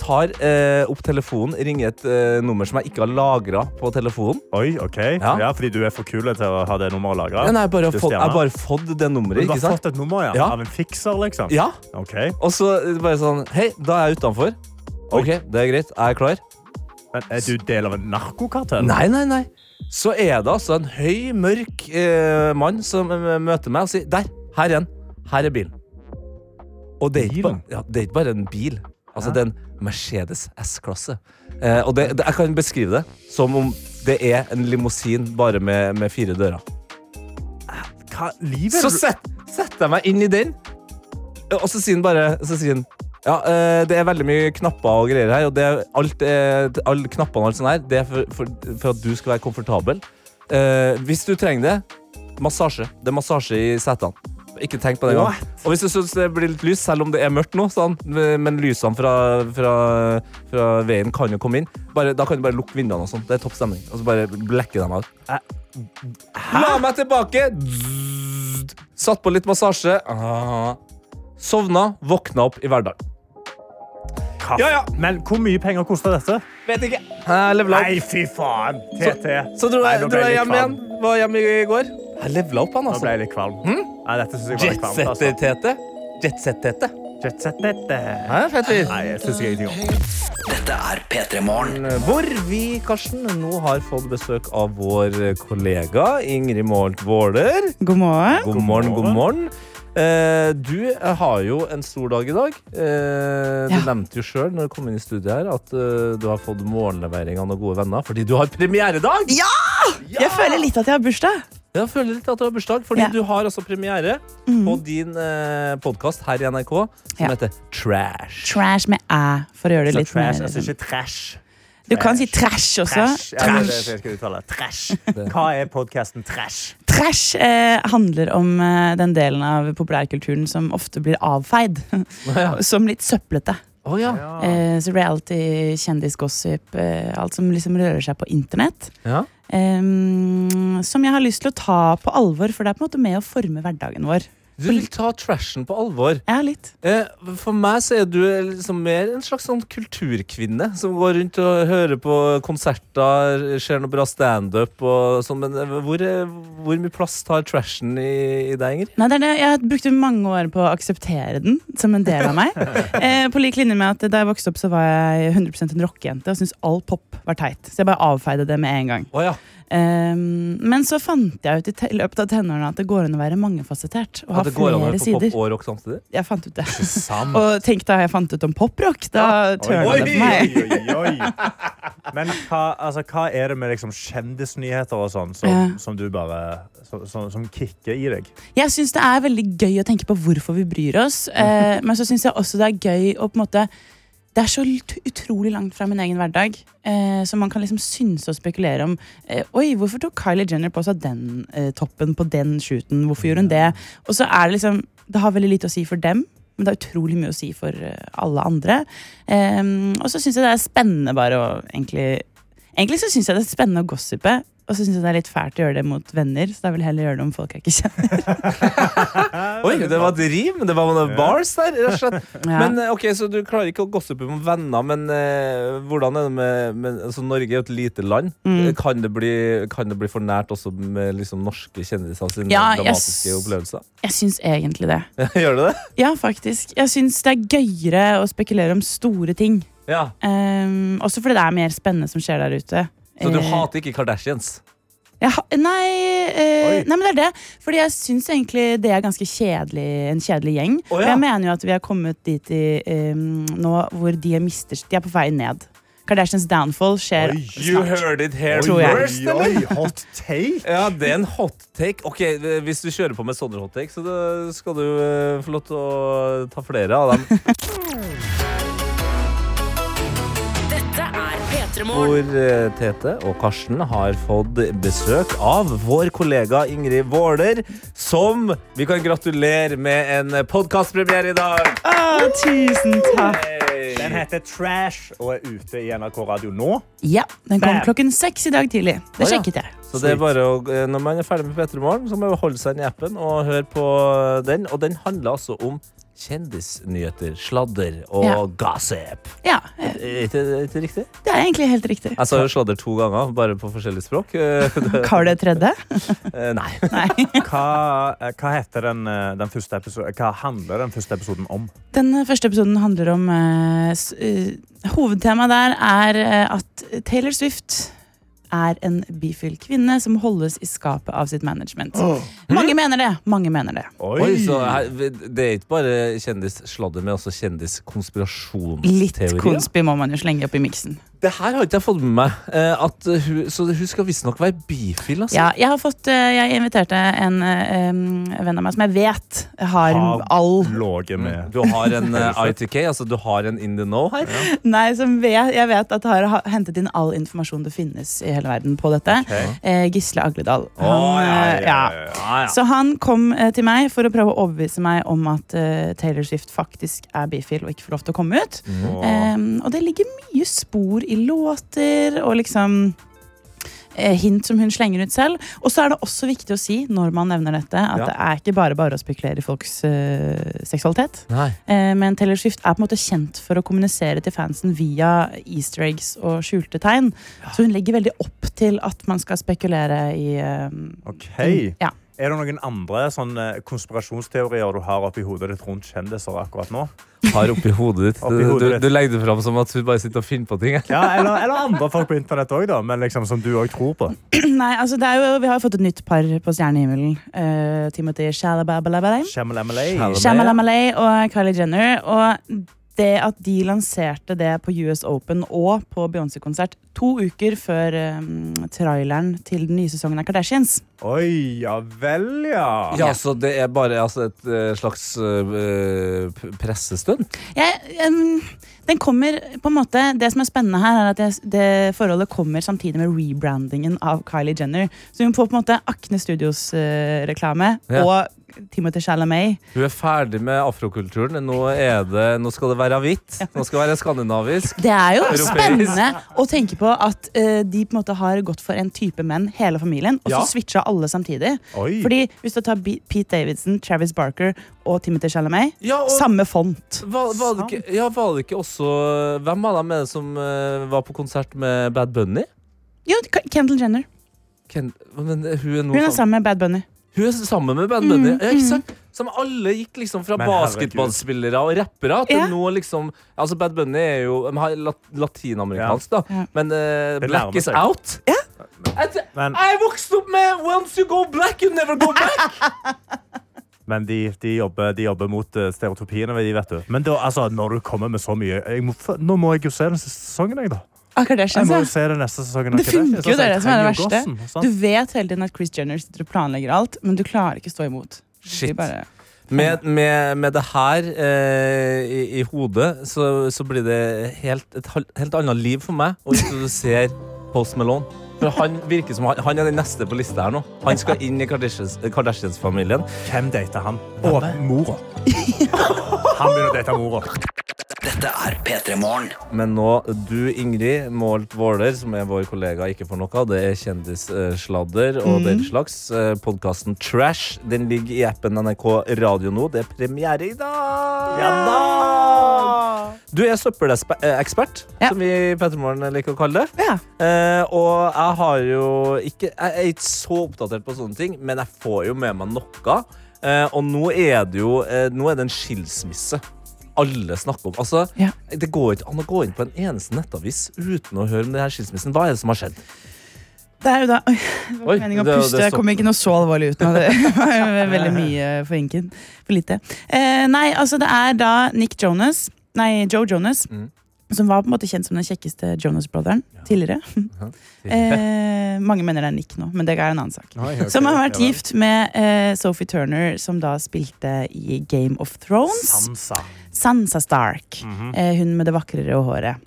tar eh, opp telefonen, ringer et eh, nummer som jeg ikke har lagra på telefonen. Oi, ok. Ja. Ja. fordi du er for kul til å ha det nummeret lagra? Nei, nei, jeg bare har Du er fått- jeg har stjerne. bare fått det nummeret, Du ikke har sant? fått et nummer ja. Ja. av en fikser, liksom? Ja, Ok. Og så eh, bare sånn Hei, da er jeg utenfor. OK, det er greit. Er jeg klar? Men er du del av en narkokartell? Nei, nei, nei. Så er det altså en høy, mørk eh, mann som eh, møter meg og sier Der, her er den. Her er bilen. Og det er ikke bare, Bilen? ja, det er ikke bare en bil. Altså, det er en Mercedes S-klasse. Eh, og det, det, jeg kan beskrive det som om det er en limousin bare med, med fire dører. Hva livet Så set, setter jeg meg inn i den, og så sier han bare så sier han, ja, eh, Det er veldig mye knapper og greier her, og det er alt, eh, alle knappene og alt sånt her, det er for, for, for at du skal være komfortabel. Eh, hvis du trenger det, massasje. Det er massasje i setene. Ikke tenk på det engang. What? Og hvis du syns det blir litt lys, selv om det er mørkt nå, sånn, men lysene fra, fra, fra veien kan jo komme inn, bare, da kan du bare lukke vinduene og sånn. Det er topp stemning. Og så bare blekke dem ut. La meg tilbake! Zzzzt. Satt på litt massasje. Ah. Sovna, våkna opp i hverdagen. Hva- Ja, ja. Men hvor mye penger koster dette? Vet ikke. Jeg levela opp. Nei, fy faen! TT. Så dro Nei, jeg, nå ble dro jeg litt hjem kvalm. igjen. Var hjemme i går. Jeg levela opp, han, Nå ble altså. jeg litt kvalm. Nei, dette synes jeg var litt kvalmt. Altså. Jetsetter-tete. Jetset-tete. Jetset-tete. Hæ, fett fyr. Nei, jeg synes jeg ingenting om. Dette er P3 Morgen. eh, Hvor vi, Karsten, nå har fått besøk av vår kollega Ingrid Målt Våler. God morgen. God morgen, god morgen. Eh, du har jo en stor dag i dag. Eh, du Ja. nevnte jo sjøl når du kom inn i studiet her at eh, du har fått morgenlevering av noen gode venner fordi du har premieredag! Ja! Jeg føler litt at jeg har bursdag. Jeg føler litt at du har bursdag, fordi Ja. Mhm. du har altså premiere på din eh, podkast her i NRK som Ja. heter Trash. Trash med æ, for å gjøre det litt Trash. mer altså, Jeg synes ikke trash. Du kan si trash også. Trash. Ja, det er det jeg skal uttale. Trash. Hva er podcasten Trash? Trash eh, handler om eh, den delen av populærkulturen som ofte blir avfeid. som litt søplete. Å ja. Eh, så reality, kjendisgossip, eh, alt som liksom rører seg på internett. Ja. Em, som jeg har lyst til å ta på alvor, for det er på en måte med å forme hverdagen vår. Du vil ta trashen på alvor. Ja, litt. Eh, For meg så er du liksom mer en slags sånn kulturkvinne som går rundt og hører på konserter, ser noe bra standup og sånn, men eh, hvor, eh, hvor mye plass tar trashen i, i deg, Ingrid? Nei, det er det. Jeg brukte mange år på å akseptere den som en del av meg. Eh, på lik linje med at Da jeg vokste opp, så var jeg 100 en rockejente og syntes all pop var teit. Så jeg bare avfeide det med en gang. Å ja. Eh, men så fant jeg ut i te- løpet av tenårene at det går an å være mangefasettert. Og ha At det går an å flere høre på sider. pop og rock samtidig? Jeg fant ut det. Sam. Og tenk da jeg fant ut om poprock. Da turna Oi, det for meg. oi, oi, oi. Men hva, altså, hva er det med liksom kjendisnyheter og sånn som, Ja. som du bare som, som, som kicker i deg? Jeg syns det er veldig gøy å tenke på hvorfor vi bryr oss. Eh, men så syns jeg også det er gøy å på en måte Det er så ut- utrolig langt fra min egen hverdag. Eh, så man kan liksom synse og spekulere om eh, Oi, hvorfor tok Kylie Jenner på seg den eh, toppen på den shooten? Hvorfor gjorde hun det? Og så er det liksom Det har veldig lite å si for dem. Men det er utrolig mye å si for eh, alle andre. Eh, og så syns jeg det er spennende bare å egentlig Egentlig så syns jeg det er spennende å gossipe. Og så syns jeg det er litt fælt å gjøre det mot venner, så da vil jeg heller gjøre det om folk jeg ikke kjenner. Oi, det var et rim! Det var noen bars der, rett og slett. Ja. Men eh, ok, Så du klarer ikke å gossipe med venner, men eh, hvordan er det med, med altså, Norge er jo et lite land. Mm. Kan, det bli, kan det bli for nært også med liksom, norske kjendiser sine Ja, jeg dramatiske s- opplevelser? Jeg syns egentlig det. Gjør det det? Ja, faktisk. Jeg syns det er gøyere å spekulere om store ting. Ja. Ehm, også fordi det er mer spennende som skjer der ute. Så du Eh, hater ikke Kardashians? jeg ha- nei, eh, Oi. nei, men det er det. Fordi jeg syns egentlig det er ganske kjedelig, en kjedelig gjeng. Å, Og ja. Jeg mener jo at vi har kommet dit i, ehm, nå hvor de er, mister, de er på vei ned. Kardashians downfall skjer snart. it here Tror jeg. oi, hot take! Ja, det er en hot take. Ok, Hvis du kjører på med sånne hot takes, så da skal du eh, få lov til å ta flere av dem. Dette er P3 Morgen. Hvor eh, Tete og Karsten har fått besøk av vår kollega Ingrid Våler, som vi kan gratulere med en podkastpremiere i dag. Å, tusen takk. Den heter Trash og er ute i NRK Radio nå. Ja, den kom Bam. klokken seks i dag tidlig. Det Å, ja. sjekket jeg. Så det er bare å, eh, Når man er ferdig med P3 Morgen, så må man holde seg inn i appen og høre på den. Og den handler altså om kjendisnyheter, sladder og Ja. gossip. Ja, eh, Er ikke er ikke riktig? det er egentlig helt riktig. Jeg sa jo sladder to ganger, bare på forskjellig språk. Eh, det- Har du et tredje? eh, Nei. Hva, eh, hva, heter den, eh, den første episo- hva handler den første episoden om? Den første episoden handler om eh, s- eh, Hovedtemaet der er eh, at Taylor Swift er en bifil kvinne som holdes i skapet av sitt management. Mange mener det. Mange mener det. Oi, så her, Det er ikke bare kjendissladder, men også kjendiskonspirasjonsteorier. Litt konspi må man jo slenge opp i miksen. Det her har ikke jeg fått med meg. eh, At hun, så hun skal visstnok være bifil, altså. Ja, jeg har fått eh, Jeg inviterte en eh, em, venn av meg som jeg vet har Har all Mm. Låge med. Du har en eh, ITK, altså du har en in the know her. Nei, som vet, jeg vet at har ha- hentet inn all informasjon det finnes i hele verden på dette. Eh, Gisle Agledal. Han, eh, ja. Så han kom eh, til meg for å prøve å overbevise meg om at eh, Taylor Swift faktisk er bifil og ikke får lov til å komme ut. Eh, og det ligger mye spor i låter og liksom eh, Hint som hun slenger ut selv. Og så er det også viktig å si når man nevner dette at Ja. det er ikke bare bare å spekulere i folks eh, seksualitet. Nei. Eh, Men Taylor Swift er på en måte kjent for å kommunisere til fansen via easter eggs og skjulte tegn. Så hun legger veldig opp til at man skal spekulere i eh, Ok. Ja. Er det noen andre sånne konspirasjonsteorier du har oppi hodet ditt rundt kjendiser akkurat nå? Har oppi hodet ditt. Oppi hodet du, ditt. du legger det fram som at hun bare sitter og finner på ting. jeg. Ja, eller, eller andre folk på internett òg, da. Men liksom, som du òg tror på. Nei, altså det er jo, Vi har jo fått et nytt par på stjernehimmelen. Uh, Timothy Shalababalabala. Shamalamalay. Shalamalay og Kylie Jenner. Og det at de lanserte det på US Open og på Beyoncé-konsert to uker før eh, traileren til den nye sesongen av Kardashians Oi, ja vel, ja. Ja, så det er bare altså, et eh, slags eh, p- pressestunt? Jeg, em, den kommer på en måte Det som er spennende her, er at det, det forholdet kommer samtidig med rebrandingen av Kylie Jenner. Så hun får på en måte Akne Studios-reklame Ja. og Timothy Chalamet. Hun er ferdig med afrokulturen. Nå, er det, nå skal det være hvitt. Nå skal det være skandinavisk. Det er jo Europeisk. spennende å tenke på at eh, de på en måte har gått for en type menn, hele familien, og så Ja. switcha alle samtidig. Oi. Fordi hvis du tar Bi- Pete Davidson, Travis Barker og Timothy Chalamet, Ja, og- samme font. Var, var, det ikke, ja, var det ikke også Hvem av dem er det som eh, var på konsert med Bad Bunny? Jo, K- Kendall Jenner. Ken, men hun er, nå Hun er sammen. sammen med Bad Bunny. hun er sammen med Bad Bunny. Mm, ja, ikke sant? Som alle gikk liksom fra Men herregud. basketballspillere og rappere til Ja. nå liksom Altså Bad Bunny er jo de har lat, latinamerikansk, da. Ja. Men eh, Det nærmer black is seg. out. Jeg, Men- jeg vokste opp med Once you go black, you never go back. Men de, de, jobber, de jobber mot eh, stereotypiene. De vet du. Men da, altså, når du kommer med så mye jeg må, f- Nå må jeg jo se den siste sesongen. Jeg, da. Ah, Kardashians, jeg må ja. jo se den neste sesongen. av Det funker jo, Kardashians. det er det som er det Jeg trenger jo verste. gossen, sant? Du vet hele tiden at Chris Jenner sitter og planlegger alt, men du klarer ikke å stå imot. Du Shit. bare- Med, med, med det her eh, i, i hodet så, så blir det helt, et hal- helt annet liv for meg å introdusere Post Malone. For han virker som han, han er den neste på lista her nå. Han skal inn i Kardashians- Kardashians-familien. Hvem dater han? Og mora. Han begynner å date mora. Dette er P3 Morgen. Men nå, du Ingrid Målt Våler, som er vår kollega ikke for noe, det er kjendissladder og den slags. Podkasten Trash den ligger i appen NRK Radio nå. Det er premiere i dag! Ja da! Du er søppelekspert, Ja. som vi i Petremorgen liker å kalle det. Ja. Eh, og jeg har jo ikke Jeg er ikke så oppdatert på sånne ting, men jeg får jo med meg noe. Eh, og nå er det jo eh, Nå er det en skilsmisse alle snakker om. Altså, Ja. Det går ikke an å gå inn på en eneste nettavis uten å høre om det her skilsmissen. Hva er det som har skjedd? Det er jo da Oi, det var Oi, ikke meningen å det- puste. det Jeg kom stoppet. ikke noe så alvorlig ut nå. Det var veldig mye for inken. For lite. Eh, nei, altså, det er da Nick Jonas Nei, Joe Jonas. Mm. Som var på en måte kjent som den kjekkeste Jonas-broderen tidligere. Eh, mange mener det er Nick nå, men det er en annen sak. Som har vært gift med eh, Sophie Turner, som da spilte i Game of Thrones. Sansa. Sansa Stark. eh, hun med det vakrere håret.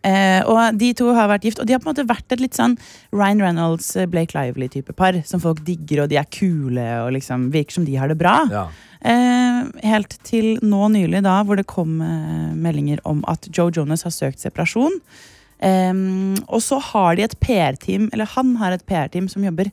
Eh, og De to har vært gift, og de har på en måte vært et litt sånn Ryan Reynolds, eh, Blake Lively-type par. Som folk digger, og de er kule og liksom virker som de har det bra. Ja. Eh, helt til nå nylig, da, hvor det kom eh, meldinger om at Joe Jonas har søkt separasjon. Eh, og så har de et PR-team, eller han har et PR-team som jobber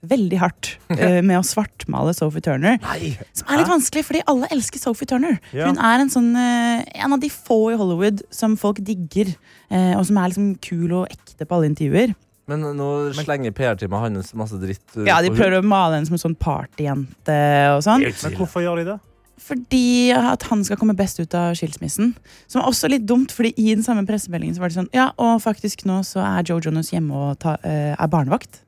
veldig hardt eh, med å svartmale Sophie Turner. Nei. Som er litt vanskelig, fordi alle elsker Sophie Turner. Ja. Hun er en, sånn, eh, en av de få i Hollywood som folk digger, eh, og som er liksom kul og ekte på alle intervjuer. Men nå slenger PR-teamet hans masse dritt. eh, Ja, De på prøver å male henne som en sånn partyjente og sånn. Men hvorfor gjør de det? Fordi at han skal komme best ut av skilsmissen. Som er også litt dumt, fordi i den samme pressemeldingen så var det sånn Ja, og faktisk nå så er Joe Jonas hjemme og ta, eh, er barnevakt.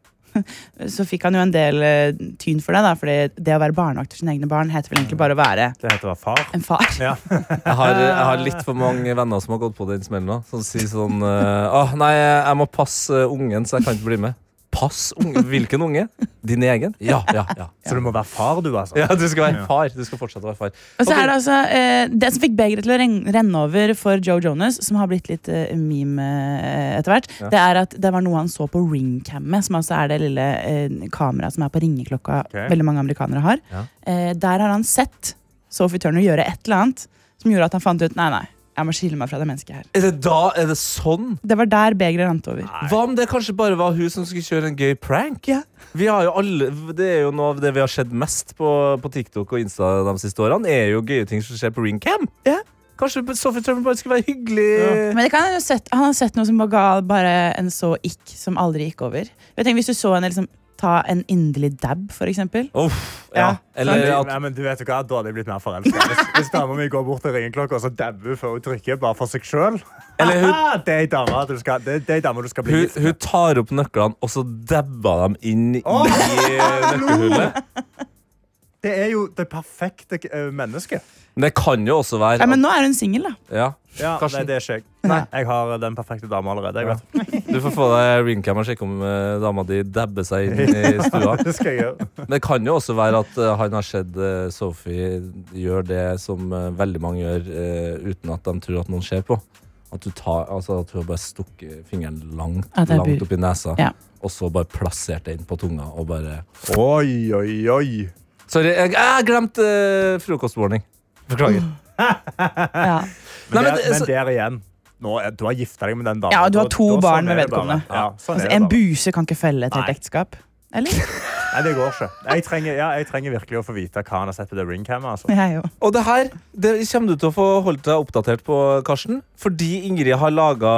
så fikk han jo en del eh, tyn for det, da, fordi det å være barnevakt for sine egne barn heter vel egentlig bare å være Det heter å være far. en far. Ja. Jeg har, jeg har Eh. litt for mange venner som har gått på den smellen. da, Som sier sånn eh, «Åh, Nei, jeg må passe ungen, så jeg kan ikke bli med. Pass unge? Hvilken unge? Din egen? Ja, ja, ja. Så du må være far, du, altså. Ja, Du skal være far. Du skal fortsette å være far. Og så Ok. er det altså eh, Det som fikk begeret til å ren- renne over for Joe Jonas, som har blitt litt eh, meme eh, etter hvert, det er at det var noe han så på ringcammet, som altså er det lille eh, kameraet som er på ringeklokka Ok. veldig mange amerikanere har. Ja. Eh, der har han sett Sophie Turner gjøre et eller annet som gjorde at han fant ut Nei, nei, jeg må skille meg fra det mennesket her. Er det da er det sånn? Det var der begeret rant over. Hva om det kanskje bare var hun som skulle kjøre en gøy prank? Vi har jo alle, Det er jo noe av det vi har sett mest på, på TikTok og Insta de siste årene, er jo gøye ting som skjer på ringcam. Kanskje Sophie Trump bare skulle være hyggelig. Men det kan han, jo sett, han har sett noe som bare ga bare en så ikk som aldri gikk over. Jeg tenker, hvis du så henne liksom, ta en inderlig dab, for eksempel. Uff, ja. Ja. Eller at Nei, men du vet jo hva, Da hadde jeg blitt mer forelska. Hvis, hvis dama mi går bort til ringeklokka og så dabber hun før hun trykker, bare for seg sjøl Eller hun- Det er ei dame du, skal- det er ei dame du skal bli hun, gift hun med. tar opp nøklene, og så dabber dem inn i Åh! nøkkelhullet. Det er jo det perfekte eh, mennesket. Men det kan jo også være Ja, men nå er hun singel, da. ja. Ja, nei, Karsten, det er ikke jeg. Nei, jeg har eh, den perfekte dama allerede. Jeg vet. Du får få deg ringcam og sjekke om eh, dama di dabber seg inn i stua. Det skal jeg gjøre. Men det kan jo også være at eh, han har sett eh, Sophie gjøre det som eh, veldig mange gjør eh, uten at de tror at noen ser på. At, du tar, altså, at hun har bare stukket fingeren langt, At det er langt bur- opp i nesa. Ja. Og så bare plassert det inn på tunga og bare Oi, oi, oi. Sorry, jeg, jeg glemte eh, frokostwarning. Beklager. Ja. Nei, Men, men der, det- så- men der igjen nå, er- Du har gifta deg med den dama. Ja, og du har Da- to da- sånn barn med er det bare. vedkommende. Ja, sånn Altså, er det en bare. buse kan ikke følge et helt ekteskap. Eller? Nei, det går ikke. Jeg trenger, ja, jeg trenger virkelig å få vite hva han har sett på det ringcammet. Altså. Jeg jo. Og det her det kommer du til å få holdt deg oppdatert på, Karsten. Fordi Ingrid har laga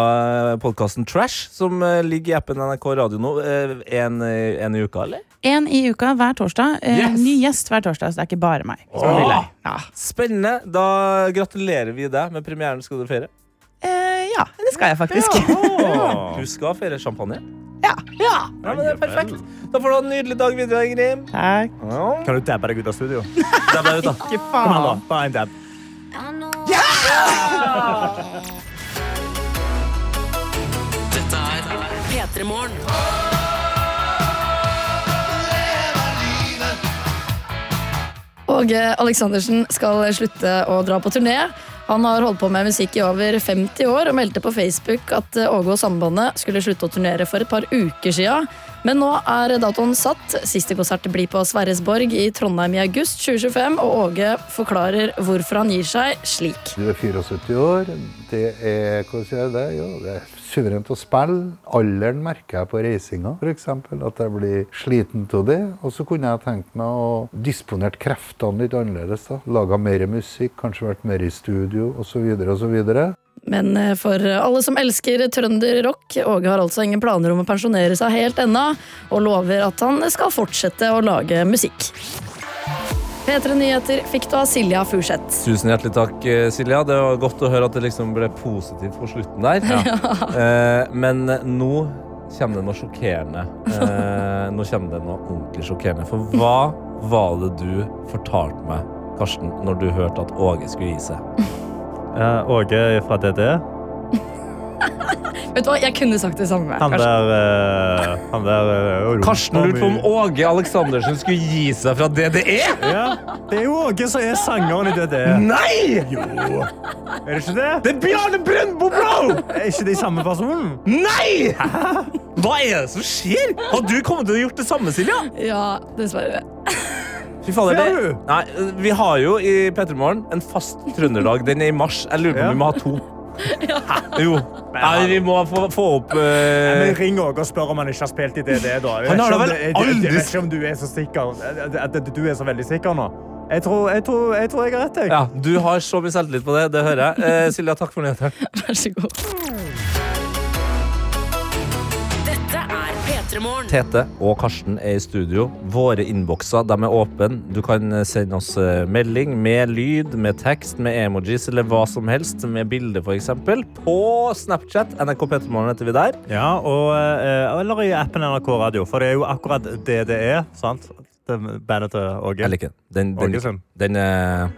podkasten Trash, som eh, ligger i appen NRK Radio nå, eh, en, en i uka, eller? En i uka hver torsdag. Eh, Yes! Ny gjest hver torsdag, så det er ikke bare meg. som er lille. Ja. Spennende. Da gratulerer vi deg med premieren. Skal du feire? Eh, ja, det skal jeg faktisk. Åh, Du skal feire champagne? Ja. ja. Ja, men det er perfekt. Da får du ha en nydelig dag videre, Ingrid. Takk. Kan du dabbe deg ut av studio? Det er bare ut, da. Ikke Kom her, faen. da. Bare en dab. Dette er P3morgen. Åge Eh, Aleksandersen skal slutte å dra på turné. Han har holdt på med musikk i over 50 år og meldte på Facebook at eh, Åge og Sambandet skulle slutte å turnere for et par uker sia. Men nå er datoen satt. Siste konsert blir på Sverresborg i Trondheim i august 2025, og Åge forklarer hvorfor han gir seg slik. Du er 74 år. Det er hvordan sier jeg det? Jo, det er suverent å spille. Alderen merker jeg på reisinga, f.eks. At jeg blir sliten av det. Og så kunne jeg tenkt meg å disponert kreftene litt annerledes. da. Laga mer musikk, kanskje vært mer i studio osv. osv. Men eh, for alle som elsker trønderrock, Åge har altså ingen planer om å pensjonere seg helt ennå, og lover at han skal fortsette å lage musikk. P3 Nyheter fikk du av Silja Furseth. Tusen hjertelig takk, eh, Silja. Det var godt å høre at det liksom ble positivt på slutten der. Eh, men nå kommer det noe sjokkerende. Eh, nå kommer det noe ordentlig sjokkerende. For hva var det du fortalte meg, Karsten, når du hørte at Åge skulle gi seg? Åge fra DD. Vet du hva, Jeg kunne sagt det samme. Han kanskje. der, eh, han der eh, Karsten lurte på om Åge Aleksandersen skulle gi seg fra DDE! ja, Det er jo Åge som er sangeren i DD. Nei! Jo. Er det ikke det? Det er Bjarne Brøndbo, bro! Er ikke de samme personen? Nei! Hva er det som skjer? Har du kommet til å gjort det samme, Silja? Ja, dessverre. Fy fader, Ser det, du? nei, vi har jo i P3morgen en fast trønderdag. Den er i mars. Jeg lurer på om Ja. vi må ha to. Jo. Nei, vi må få, få opp Nei, eh, Men ring Åge og spør om han ikke har spilt i DDE. da. Jeg vet Han har ikke om da vel det- jeg- jeg- Jeg aldri vet ikke om du er så sikker. eh, At- at Du er så veldig sikker nå. Jeg tror jeg, tror, jeg, tror jeg har rett. Jeg. Ja, du har så mye selvtillit på det. Det hører jeg. Eh, Silja, takk for nyhetene. Vær så god. Dette er P3 Morgen. Tete og Karsten er i studio. Våre innbokser de er åpne. Du kan sende oss eh, melding med lyd, med tekst, med emojis eller hva som helst. Med bilde, f.eks. På Snapchat. NRK Petermorgen heter vi der. Ja, og, eh, eller i appen NRK Radio, for det er jo akkurat det det er. sant? Det bandet til Åge. Jeg liker den. Den, den, Åge sin. den er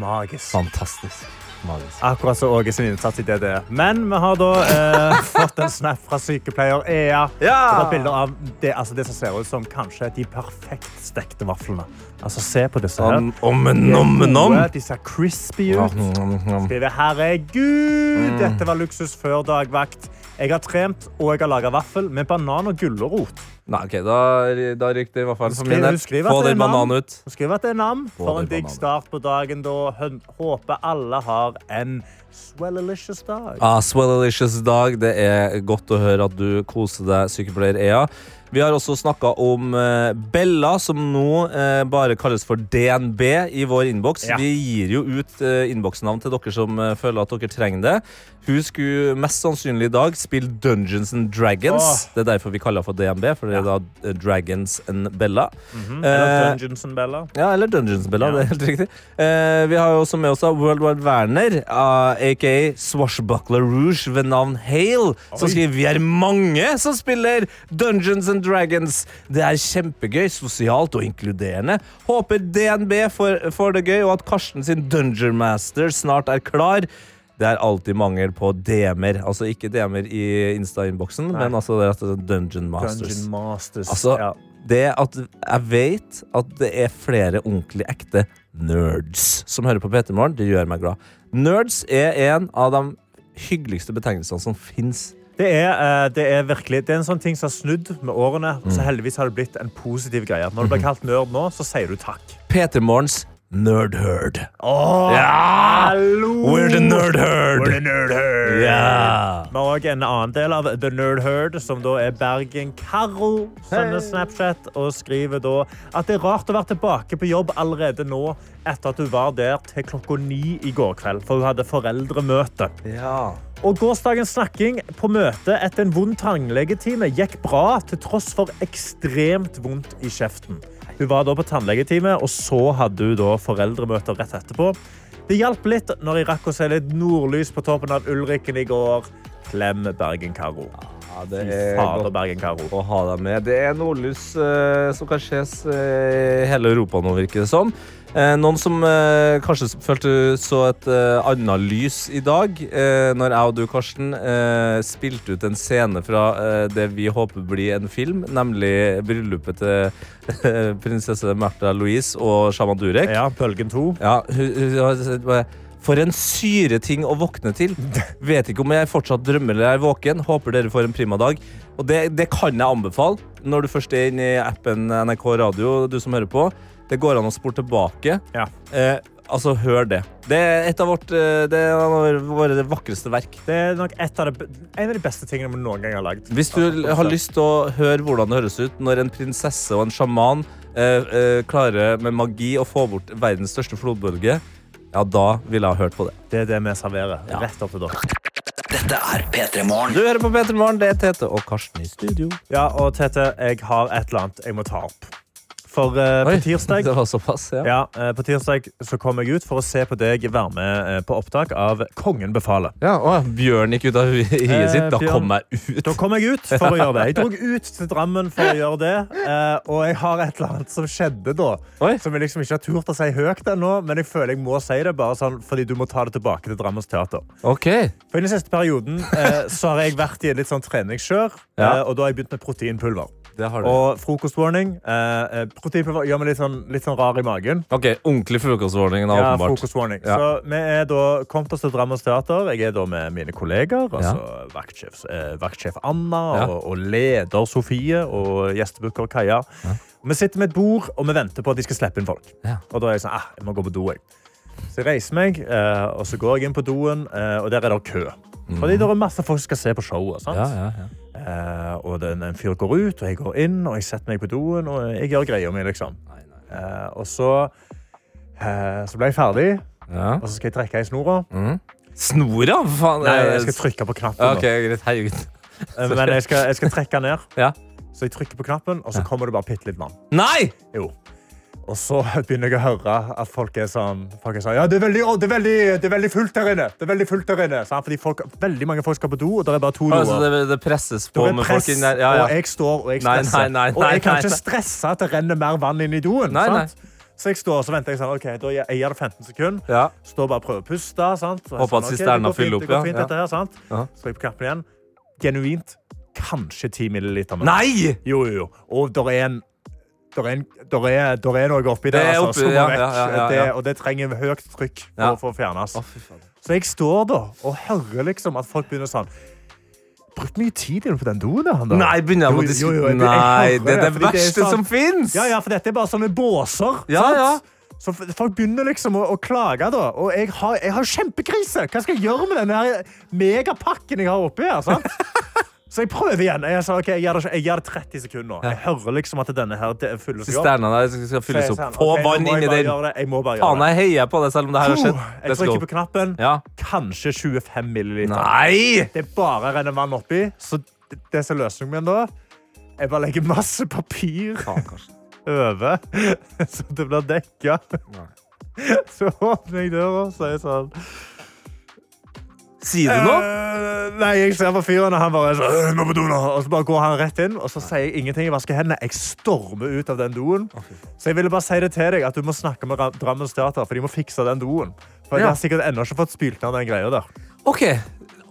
Magisk. fantastisk. Magisk. Akkurat som Åge sin innsats i DDE. Men vi har da eh, fått en snap fra sykepleier Ea. Ja! Det er bilder av det, altså det som ser ut som kanskje de perfekt stekte vaflene. Altså, se på disse her. Om- om en om en om. hmm. De er gode, De ser crispy ut. Skriver herregud, dette var luksus før dagvakt. Jeg har trent og jeg har laga vaffel med banan og gulrot. Nei, OK, da, da ryker det i hvert fall for min Skriver- del. hun skriver at Få det er den bananen nam. ut. Hun skriver at det er nam. Få For den en digg bananen. start på dagen, da. Hun- Håper alle har en swellilicious dag. Ah, Swellilicious dag. Det er godt å høre at du koser deg, sykepleier Ea. Vi har også snakka om eh, Bella, som nå eh, bare kalles for DNB i vår innboks. Ja. Vi gir jo ut eh, innboksnavn til dere som eh, føler at dere trenger det. Hun skulle mest sannsynlig i dag spille Dungeons and Dragons. Åh. Det er derfor vi kaller henne for DNB, for det er da eh, Dragons and Bella. Mhm. Eh, Eller Dungeons and Bella. ja, eller Dungeons Bella, det er helt riktig. Eh, vi har jo også med oss da World Wide Werner, uh, aka Swashbuckler Rouge ved navn Hale, som Oi. skriver Vi er mange som spiller Dungeons and Dragons. Det er kjempegøy, sosialt og inkluderende. Håper DNB får får det gøy, og at Karsten sin Dungeon Master snart er klar. Det er alltid mangel på DM-er. Altså ikke DM-er i Insta-innboksen, Nei. men altså det er rett og slett Dungeon Masters. Dungeon Masters. Altså, ja. det at jeg vet at det er flere ordentlig ekte nerds som hører på P3 Morgen, det gjør meg glad. Nerds er en av de hyggeligste betegnelsene som fins. Det er, eh, det er virkelig Det er en sånn ting som har snudd med årene. Mm. Så heldigvis har det blitt en positiv greie. Når du Mhm. blir kalt nerd nå, så sier du takk. P3 Morgens nerdherd. Åh, Ja! Hallo! We're the nerd herd. We're the nerd herd. Ja. Vi har også en annen del av The Nerd Herd, som da er Bergen Karo. Sender Snapchat og skriver da at det er rart å være tilbake på jobb allerede nå, etter at du var der til klokka ni i går kveld, for hun hadde foreldremøte. Ja. Og gårsdagens snakking på møtet etter en vond tannlegetime gikk bra, til tross for ekstremt vondt i kjeften. Hun var da på tannlegetime, og så hadde hun da foreldremøter rett etterpå. Det hjalp litt når jeg rakk å se litt nordlys på toppen av Ulriken i går. Klem Bergen-Karo. det Fy er fader, godt. Bergen-Karo. å ha deg med. Det er nordlys eh, som kan ses eh, i hele Europa nå, virker det som. Eh, noen som eh, kanskje følte så et eh, annet lys i dag, eh, når jeg og du, Karsten, eh, spilte ut en scene fra eh, det vi håper blir en film, nemlig bryllupet til prinsesse Märtha Louise og Shaman Durek. Ja, Bølgen 2. Ja, hun, hun, har sett bare, altså, for en syre ting å våkne til. Vet ikke om jeg fortsatt drømmer eller er våken. Håper dere får en prima dag. Og det, det kan jeg anbefale når du først er inne i appen NRK Radio, du som hører på. Det går an å spore tilbake. Ja. Eh, altså, hør det. Det er et av vårt, eh, det er en av våre vakreste verk. Det er nok et av de, en av de beste tingene vi noen gang har lagd. Hvis du Altså, har lyst til å høre hvordan det høres ut når en prinsesse og en sjaman eh, eh, klarer med magi å få bort verdens største flodbølge, ja, da ville jeg ha hørt på det. Det er det vi serverer. Rett opp til dere. Dette er P3 Morgen. Du hører på P3 Morgen, det er Tete og Karsten i studio. Ja, og Tete, jeg har et eller annet jeg må ta opp. For eh, på tirsdag Det var såpass, ja. ja, eh, på tirsdag så kom jeg ut for å se på deg være med eh, på opptak av Kongen befaler. Ja, å, Bjørn gikk ut av hiet Eh, sitt. Da Bjørn. kom jeg ut. Da kom jeg ut for å gjøre det. Jeg drog ut til Drammen for å gjøre det. eh, og jeg har et eller annet som skjedde da, Oi. som jeg liksom ikke har turt å si høyt ennå, men jeg føler jeg må si det bare sånn, fordi du må ta det tilbake til Drammens teater. Ok. For I den siste perioden eh, så har jeg vært i en litt sånn treningskjør, Ja. eh, og da har jeg begynt med proteinpulver. Det har du. Og frokostwarning. Eh, eh, proteinpulver gjør meg litt sånn, litt sånn rar i magen. ok, Ordentlig frokostordning, da, Ja, åpenbart. frokostwarning. Ja. Så vi er da kommet oss til Drammens Teater. Jeg er da med mine kolleger, altså vaktsjef, eh, vaktsjef Anna Ja. og, og leder Sofie og gjestebooker Kaja. Vi sitter med et bord og vi venter på at de skal slippe inn folk. Ja. Og da er jeg sånn, ah, jeg må gå på do, jeg. Så jeg reiser meg, eh, og så går jeg inn på doen, eh, og der er det kø. Fordi det er masse folk som skal se på showet. sant? Mm. Ja, ja, Eh, og den, en fyr går ut, og jeg går inn, og jeg setter meg på doen, og jeg gjør greia mi, liksom. Eh, og så, eh, så ble jeg ferdig, og så skal jeg trekke i snora. Snora? Hva faen? Eh, Nei, jeg skal trykke på knappen. da. Ok, greit. Herregud. Eh, Men jeg skal, jeg skal trekke ned. Ja. Så jeg trykker på knappen, og så kommer det bare bitte litt vann. Nei! Jo. Og så begynner jeg å høre at folk er sånn, folk er sånn Ja, det er, veldig, å, det, er veldig, det er veldig fullt der inne! Det er veldig fullt der inne. sant? Fordi folk, veldig mange folk skal på do, og det er bare to doer. Altså, det, det presses på Det er med press, folk inn der. Ja, ja. og jeg står og jeg Nei, nei, stresser. nei, og jeg kan nei, ikke nei. stresse at det renner mer vann inn i doen. Nei, nei. sant? Så jeg står og så venter jeg sånn, ok, da gir jeg gir det 15 sekunder. Ja. Står bare og prøver å puste. sant? Så jeg Håper at sånn, ok, det sisterna går fint, fyller Det opp, ja. går fint, Ja. dette her, sant? Ja. Så jeg på knappen igjen. Genuint kanskje 10 milliliter. mer. Nei! Jo, jo, jo. Og der er en der er, en, der, er, der er noe oppi Det der, er altså, oppi, som må ja, vekk. ja, ja, ja, Det, ja. og det trenger høyt trykk for, Ja. for å fjernes. Å, fy faen. Så jeg står da og hører liksom at folk begynner sånn Brukt mye tid inne på den doen, han da. Nei, begynner jeg Jo, å jo, jo, diskutere- jeg- jeg Nei, hører det er det fordi sånn- verste som finnes. Ja, ja, for dette er bare sånne båser. Ja, sant? Så f- folk begynner liksom å, å klage, da. Og jeg har, jeg har kjempekrise! Hva skal jeg gjøre med denne her megapakken jeg har oppi her? sant? Så jeg prøver igjen. Jeg sa, ok, jeg gjør det, ikke- jeg gjør det 30 sekunder. nå. Jeg hører liksom at denne her det fyller seg opp. Sisterna der skal fylles Så jeg opp. sa, Få ok, nå vann må jeg inni bare den. gjøre det. Jeg må bare gjøre Faen, det. jeg heier på det, selv om det her har skjedd. Puh, Jeg Let's go. trykker på knappen. Ja. Kanskje 25 milliliter. Nei! Det er bare renner vann oppi. Så det- det som er løsningen min da, jeg bare legger masse papir over, så det blir dekka. Så åpner jeg døra og sier sånn Sier du noe? Eh, nei, jeg ser på fyren, og han bare er sånn, «Øh, må på do nå. Og så bare går han rett inn, og så sier jeg ingenting. Jeg vasker hendene. Jeg stormer ut av den doen. Så jeg ville bare si det til deg, at du må snakke med Ra- Drammens Teater, for de må fikse den doen. For Ja. jeg har sikkert ennå ikke fått spylt ned den greia der. OK.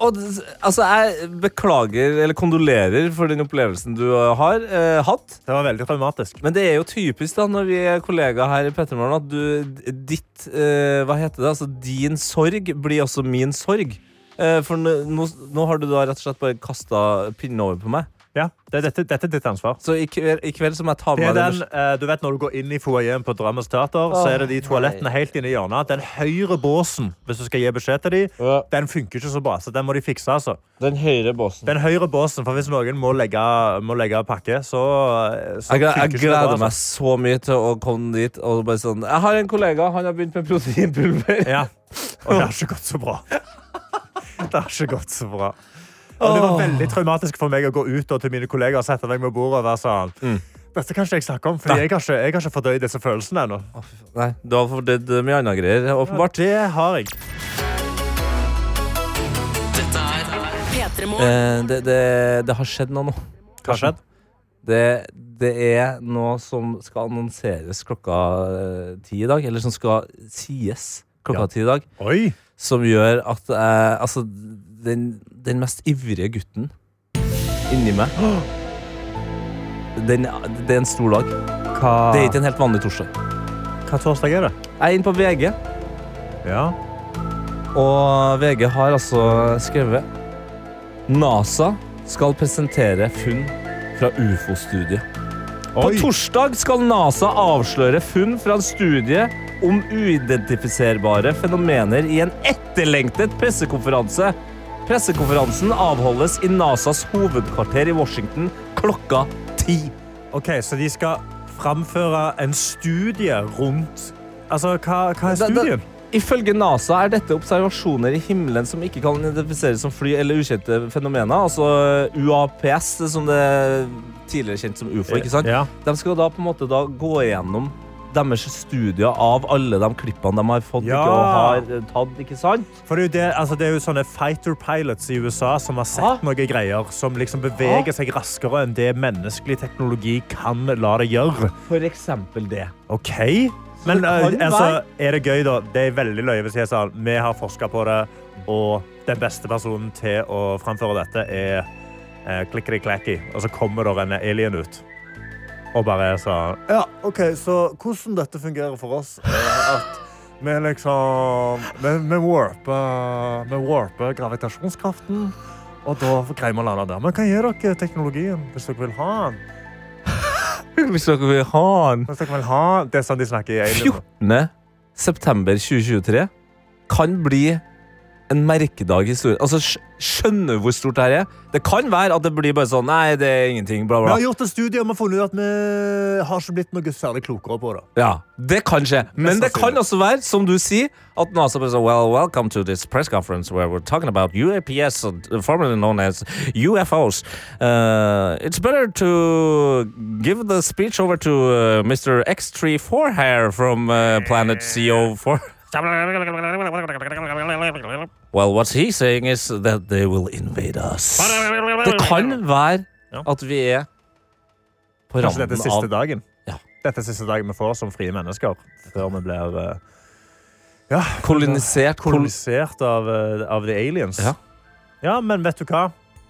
Og, d- altså, jeg beklager, eller kondolerer, for den opplevelsen du har eh, hatt. Det var veldig traumatisk. Men det er jo typisk da, når vi er kollegaer her i Pettermorgen, at du, d- ditt eh, Hva heter det? Altså, din sorg blir også min sorg. Eh, for nå, nå- nå har du da rett og slett bare kasta pinnen over på meg. Ja, det, dette, dette er ditt ansvar. Så i kveld, i kveld så må jeg ta Det med er meg den, eh, du vet Når du går inn i foajeen på Drammens Teater, så er det de toalettene helt inne i hjørnet. Den høyre båsen, hvis du skal gi beskjed til dem, den funker ikke så bra. Så den må de fikse. altså. Den høyre båsen. Den høyre båsen, for Hvis noen må legge, må legge pakke, så, Jeg, så gle- jeg funker ikke det bra, gleder altså. meg så mye til å komme dit og bare sånn Jeg har en kollega, han har begynt med proteinpulver. Ja. Og det har ikke gått så bra. Det har ikke gått så bra. Og det var veldig traumatisk for meg å gå ut og til mine kolleger og sette meg med bordet og være sånn Dette kan ikke jeg snakke om, for jeg har ikke, jeg har ikke fordøyd disse følelsene ennå. Nei, du har fordøyd mye annet greier, åpenbart. Det har jeg. Dette er P3morgen. Eh, det, det, det har skjedd noe nå. Hva har skjedd? Det, det er noe som skal annonseres klokka eh, ti i dag. Eller som skal sies klokka Ja. ti i dag. Oi! Som gjør at jeg Altså, den, den mest ivrige gutten inni meg den, Det er en stor dag. Hva, Det er ikke en helt vanlig torsdag. hva torsdag er det? Jeg er inne på VG. Ja. Og VG har altså skrevet NASA skal presentere funn fra ufo-studiet. På Oi. torsdag skal NASA avsløre funn fra en studie om uidentifiserbare fenomener i en etterlengtet pressekonferanse. Pressekonferansen avholdes i NASAs hovedkvarter i Washington klokka ti. OK, så de skal framføre en studie rundt Altså, hva, hva er Da- da- studien? Ifølge NASA er dette observasjoner i himmelen som ikke kan identifiseres som fly eller ukjente fenomener. Altså UAPS, som det er tidligere kjent som UFO. ikke sant? Ja. De skal da på en måte da gå igjennom deres studier av alle de klippene de har fått ikke, og Ja. har eh, tatt. ikke sant? For det er, jo det, altså det er jo sånne fighter pilots i USA som har sett noen greier som liksom beveger seg raskere enn det menneskelig teknologi kan la det gjøre. For eksempel det. OK? Men Så det kan eh, altså, er det gøy, da? Det er veldig løye hvis jeg sa vi har forska på det, og den beste personen til å framføre dette er eh, klikkeri-klakki, og så kommer det en alien ut. Og bare er sånn Ja, OK, så hvordan dette fungerer for oss, er at vi liksom Vi, vi warper, vi warper gravitasjonskraften, og da greier vi å lande der. Men hva gir dere teknologien hvis dere vil ha den? Hvis dere vil ha den. Hvis dere vil ha den? Det er sånn de snakker i Alien. 14. september 2023 kan bli en merkedag i historien. Altså, skj- skjønner du hvor stort det her er? Det kan være at det blir bare sånn Nei, det er ingenting, bla, Vi bla. har gjort en studie og vi har funnet ut at vi har ikke blitt noe særlig klokere på det. Ja, Det kan skje. Men Mest det kan også være, som du sier, at NASA bare sier Well, welcome to this press conference where we're talking about UAPS, uh, formerly known as UFOs. Uh, it's better to give the speech over to uh, Mr. X34 here from uh, planet CO4. Well, what he's saying is that they will invade us. Det kan være at vi er på Kanskje randen dette er siste av dagen. Dette er siste dagen vi får som frie mennesker, før vi blir eh, ja, Kolonisert. Kol kolonisert av, eh, av the aliens. Ja. Ja, men vet du hva?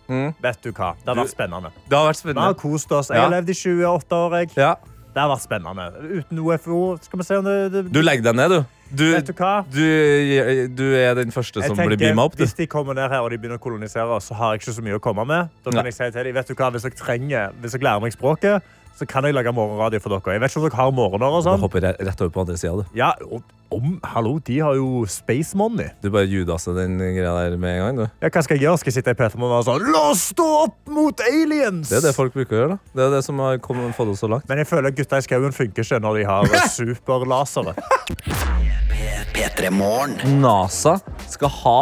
Mm. Vet du hva? Det har vært spennende. Det har vært Vi har spennende. kost oss. Jeg har Ja. levd i 28 år. Jeg. Ja. Det har vært spennende. Uten OFO Skal vi se om det, det Du legger deg ned, du. Du, Vet du hva? du. du er den første som blir beama opp. Du. Hvis de kommer ned her og de begynner å kolonisere, oss, så har jeg ikke så mye å komme med. Da Nei. kan jeg si til dem, vet du hva, Hvis dere trenger, hvis dere lærer meg språket, så kan jeg lage morgenradio for dere. Jeg vet ikke om dere har morgener og Da sånn. hopper jeg rett over på andre sida, du. Ja, og- om, hallo, de har jo space money. Du bare judaser den greia der med en gang, du. Ja, hva skal jeg gjøre? Skal jeg sitte i Petermoen og være sånn La oss stå opp mot aliens! Det er det folk bruker å gjøre, da. Det er det som har kommet, fått oss så langt. Men jeg føler at gutta i skauen funker ikke når de har superlasere. P3-morgen. NASA skal ha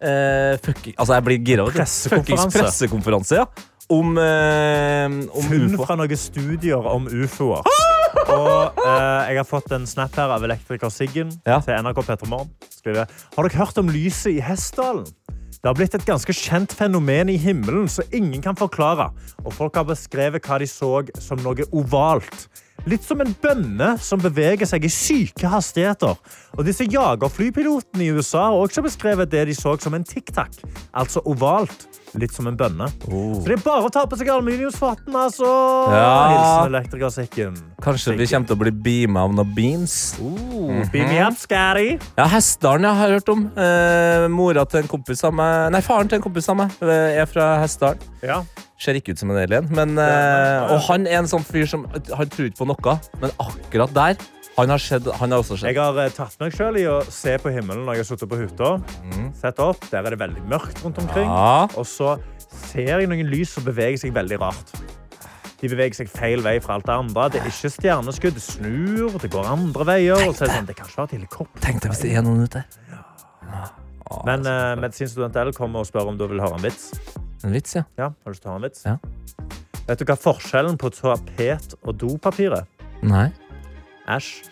eh, fucking Altså, jeg blir gira. vet du. Pressekonferanse. Fuckings pressekonferanse, ja. Om, eh, om Funn UFO. fra noen studier om ufoer. Og eh, jeg har fått en snap her av elektriker Siggen Ja. til NRK Petromorgen. Skriver Har dere hørt om lyset i Hessdalen? Det har blitt et ganske kjent fenomen i himmelen som ingen kan forklare. Og folk har beskrevet hva de så som noe ovalt. Litt som en bønne som beveger seg i syke hastigheter. Og disse jagerflypilotene i USA har også beskrevet det de så som en tic-tac. Altså ovalt. Litt som en bønne. Oh. Så det er bare å ta på seg aluminiumsfaten, altså! Ja. Hilsen elektrikersikken. Kanskje vi kommer til å bli beama av noen beans. Beam me Mhm. up, Scary. Ja, Hessdalen jeg har hørt om. Eh, mora til en kompis av meg Nei, faren til en kompis av meg eh, er fra Hessdalen. Ja. Ser ikke ut som en alien, men eh, Og han er en sånn fyr som Han tror ikke på noe, men akkurat der Han har, skjedd, han har også skjedd. Jeg har eh, tatt meg selv i å se på himmelen når jeg har sittet på hytta. Sett opp, Der er det veldig mørkt rundt omkring. Mhm. Ja. Og så ser jeg noen lys som beveger seg veldig rart. De beveger seg feil vei fra alt det andre. Det er ikke stjerneskudd. Det snur, det går andre veier. Og så er det sånn, det kan ikke være et helikopter. Tenk deg hvis det er noen ute der. Men eh, medisinstudent L kommer og spør om du vil høre en vits. En vits, ja. Ja, har du lyst til å høre en vits? Ja. Vet du hva forskjellen på tapet og dopapir er? Nei. Æsj.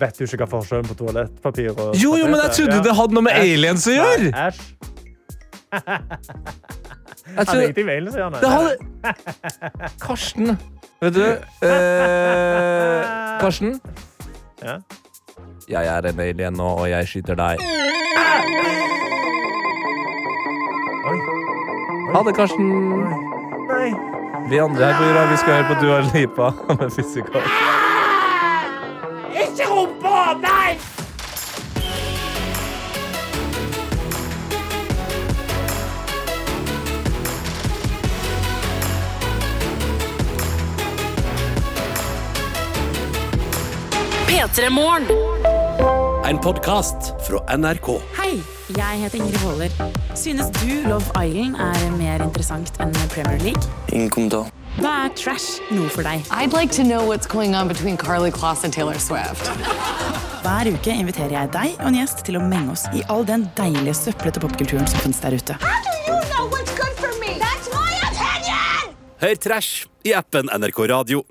Vet du ikke hva forskjellen på toalettpapir og Jo, jo, men jeg trodde det hadde noe med aliens å gjøre! Nei, Æsj. Jeg Han trodde, ringte i mailen, sier han. det hadde Karsten. Vet du eh, Karsten? Ja. Jeg er en alien nå, og jeg skyter deg. Ha det, Karsten. Nei. Vi andre her på jorda, vi skal høre på Dua Lipa med Physical. Ikke rumpa! Nei! P3-morgen. Eh. En podkast fra NRK. Hei, jeg heter Ingrid Waaler. Synes du Love Island er mer interessant enn Premier League? Ingen kommentar. Da er trash noe for deg. I'd like to know what's going on between Carly Kloss and Taylor Swift. Hver uke inviterer jeg deg og en gjest til å menge oss i all den deilige søplete popkulturen som finnes der ute. You know what's good for me! That's my opinion! Hør Trash i appen NRK Radio.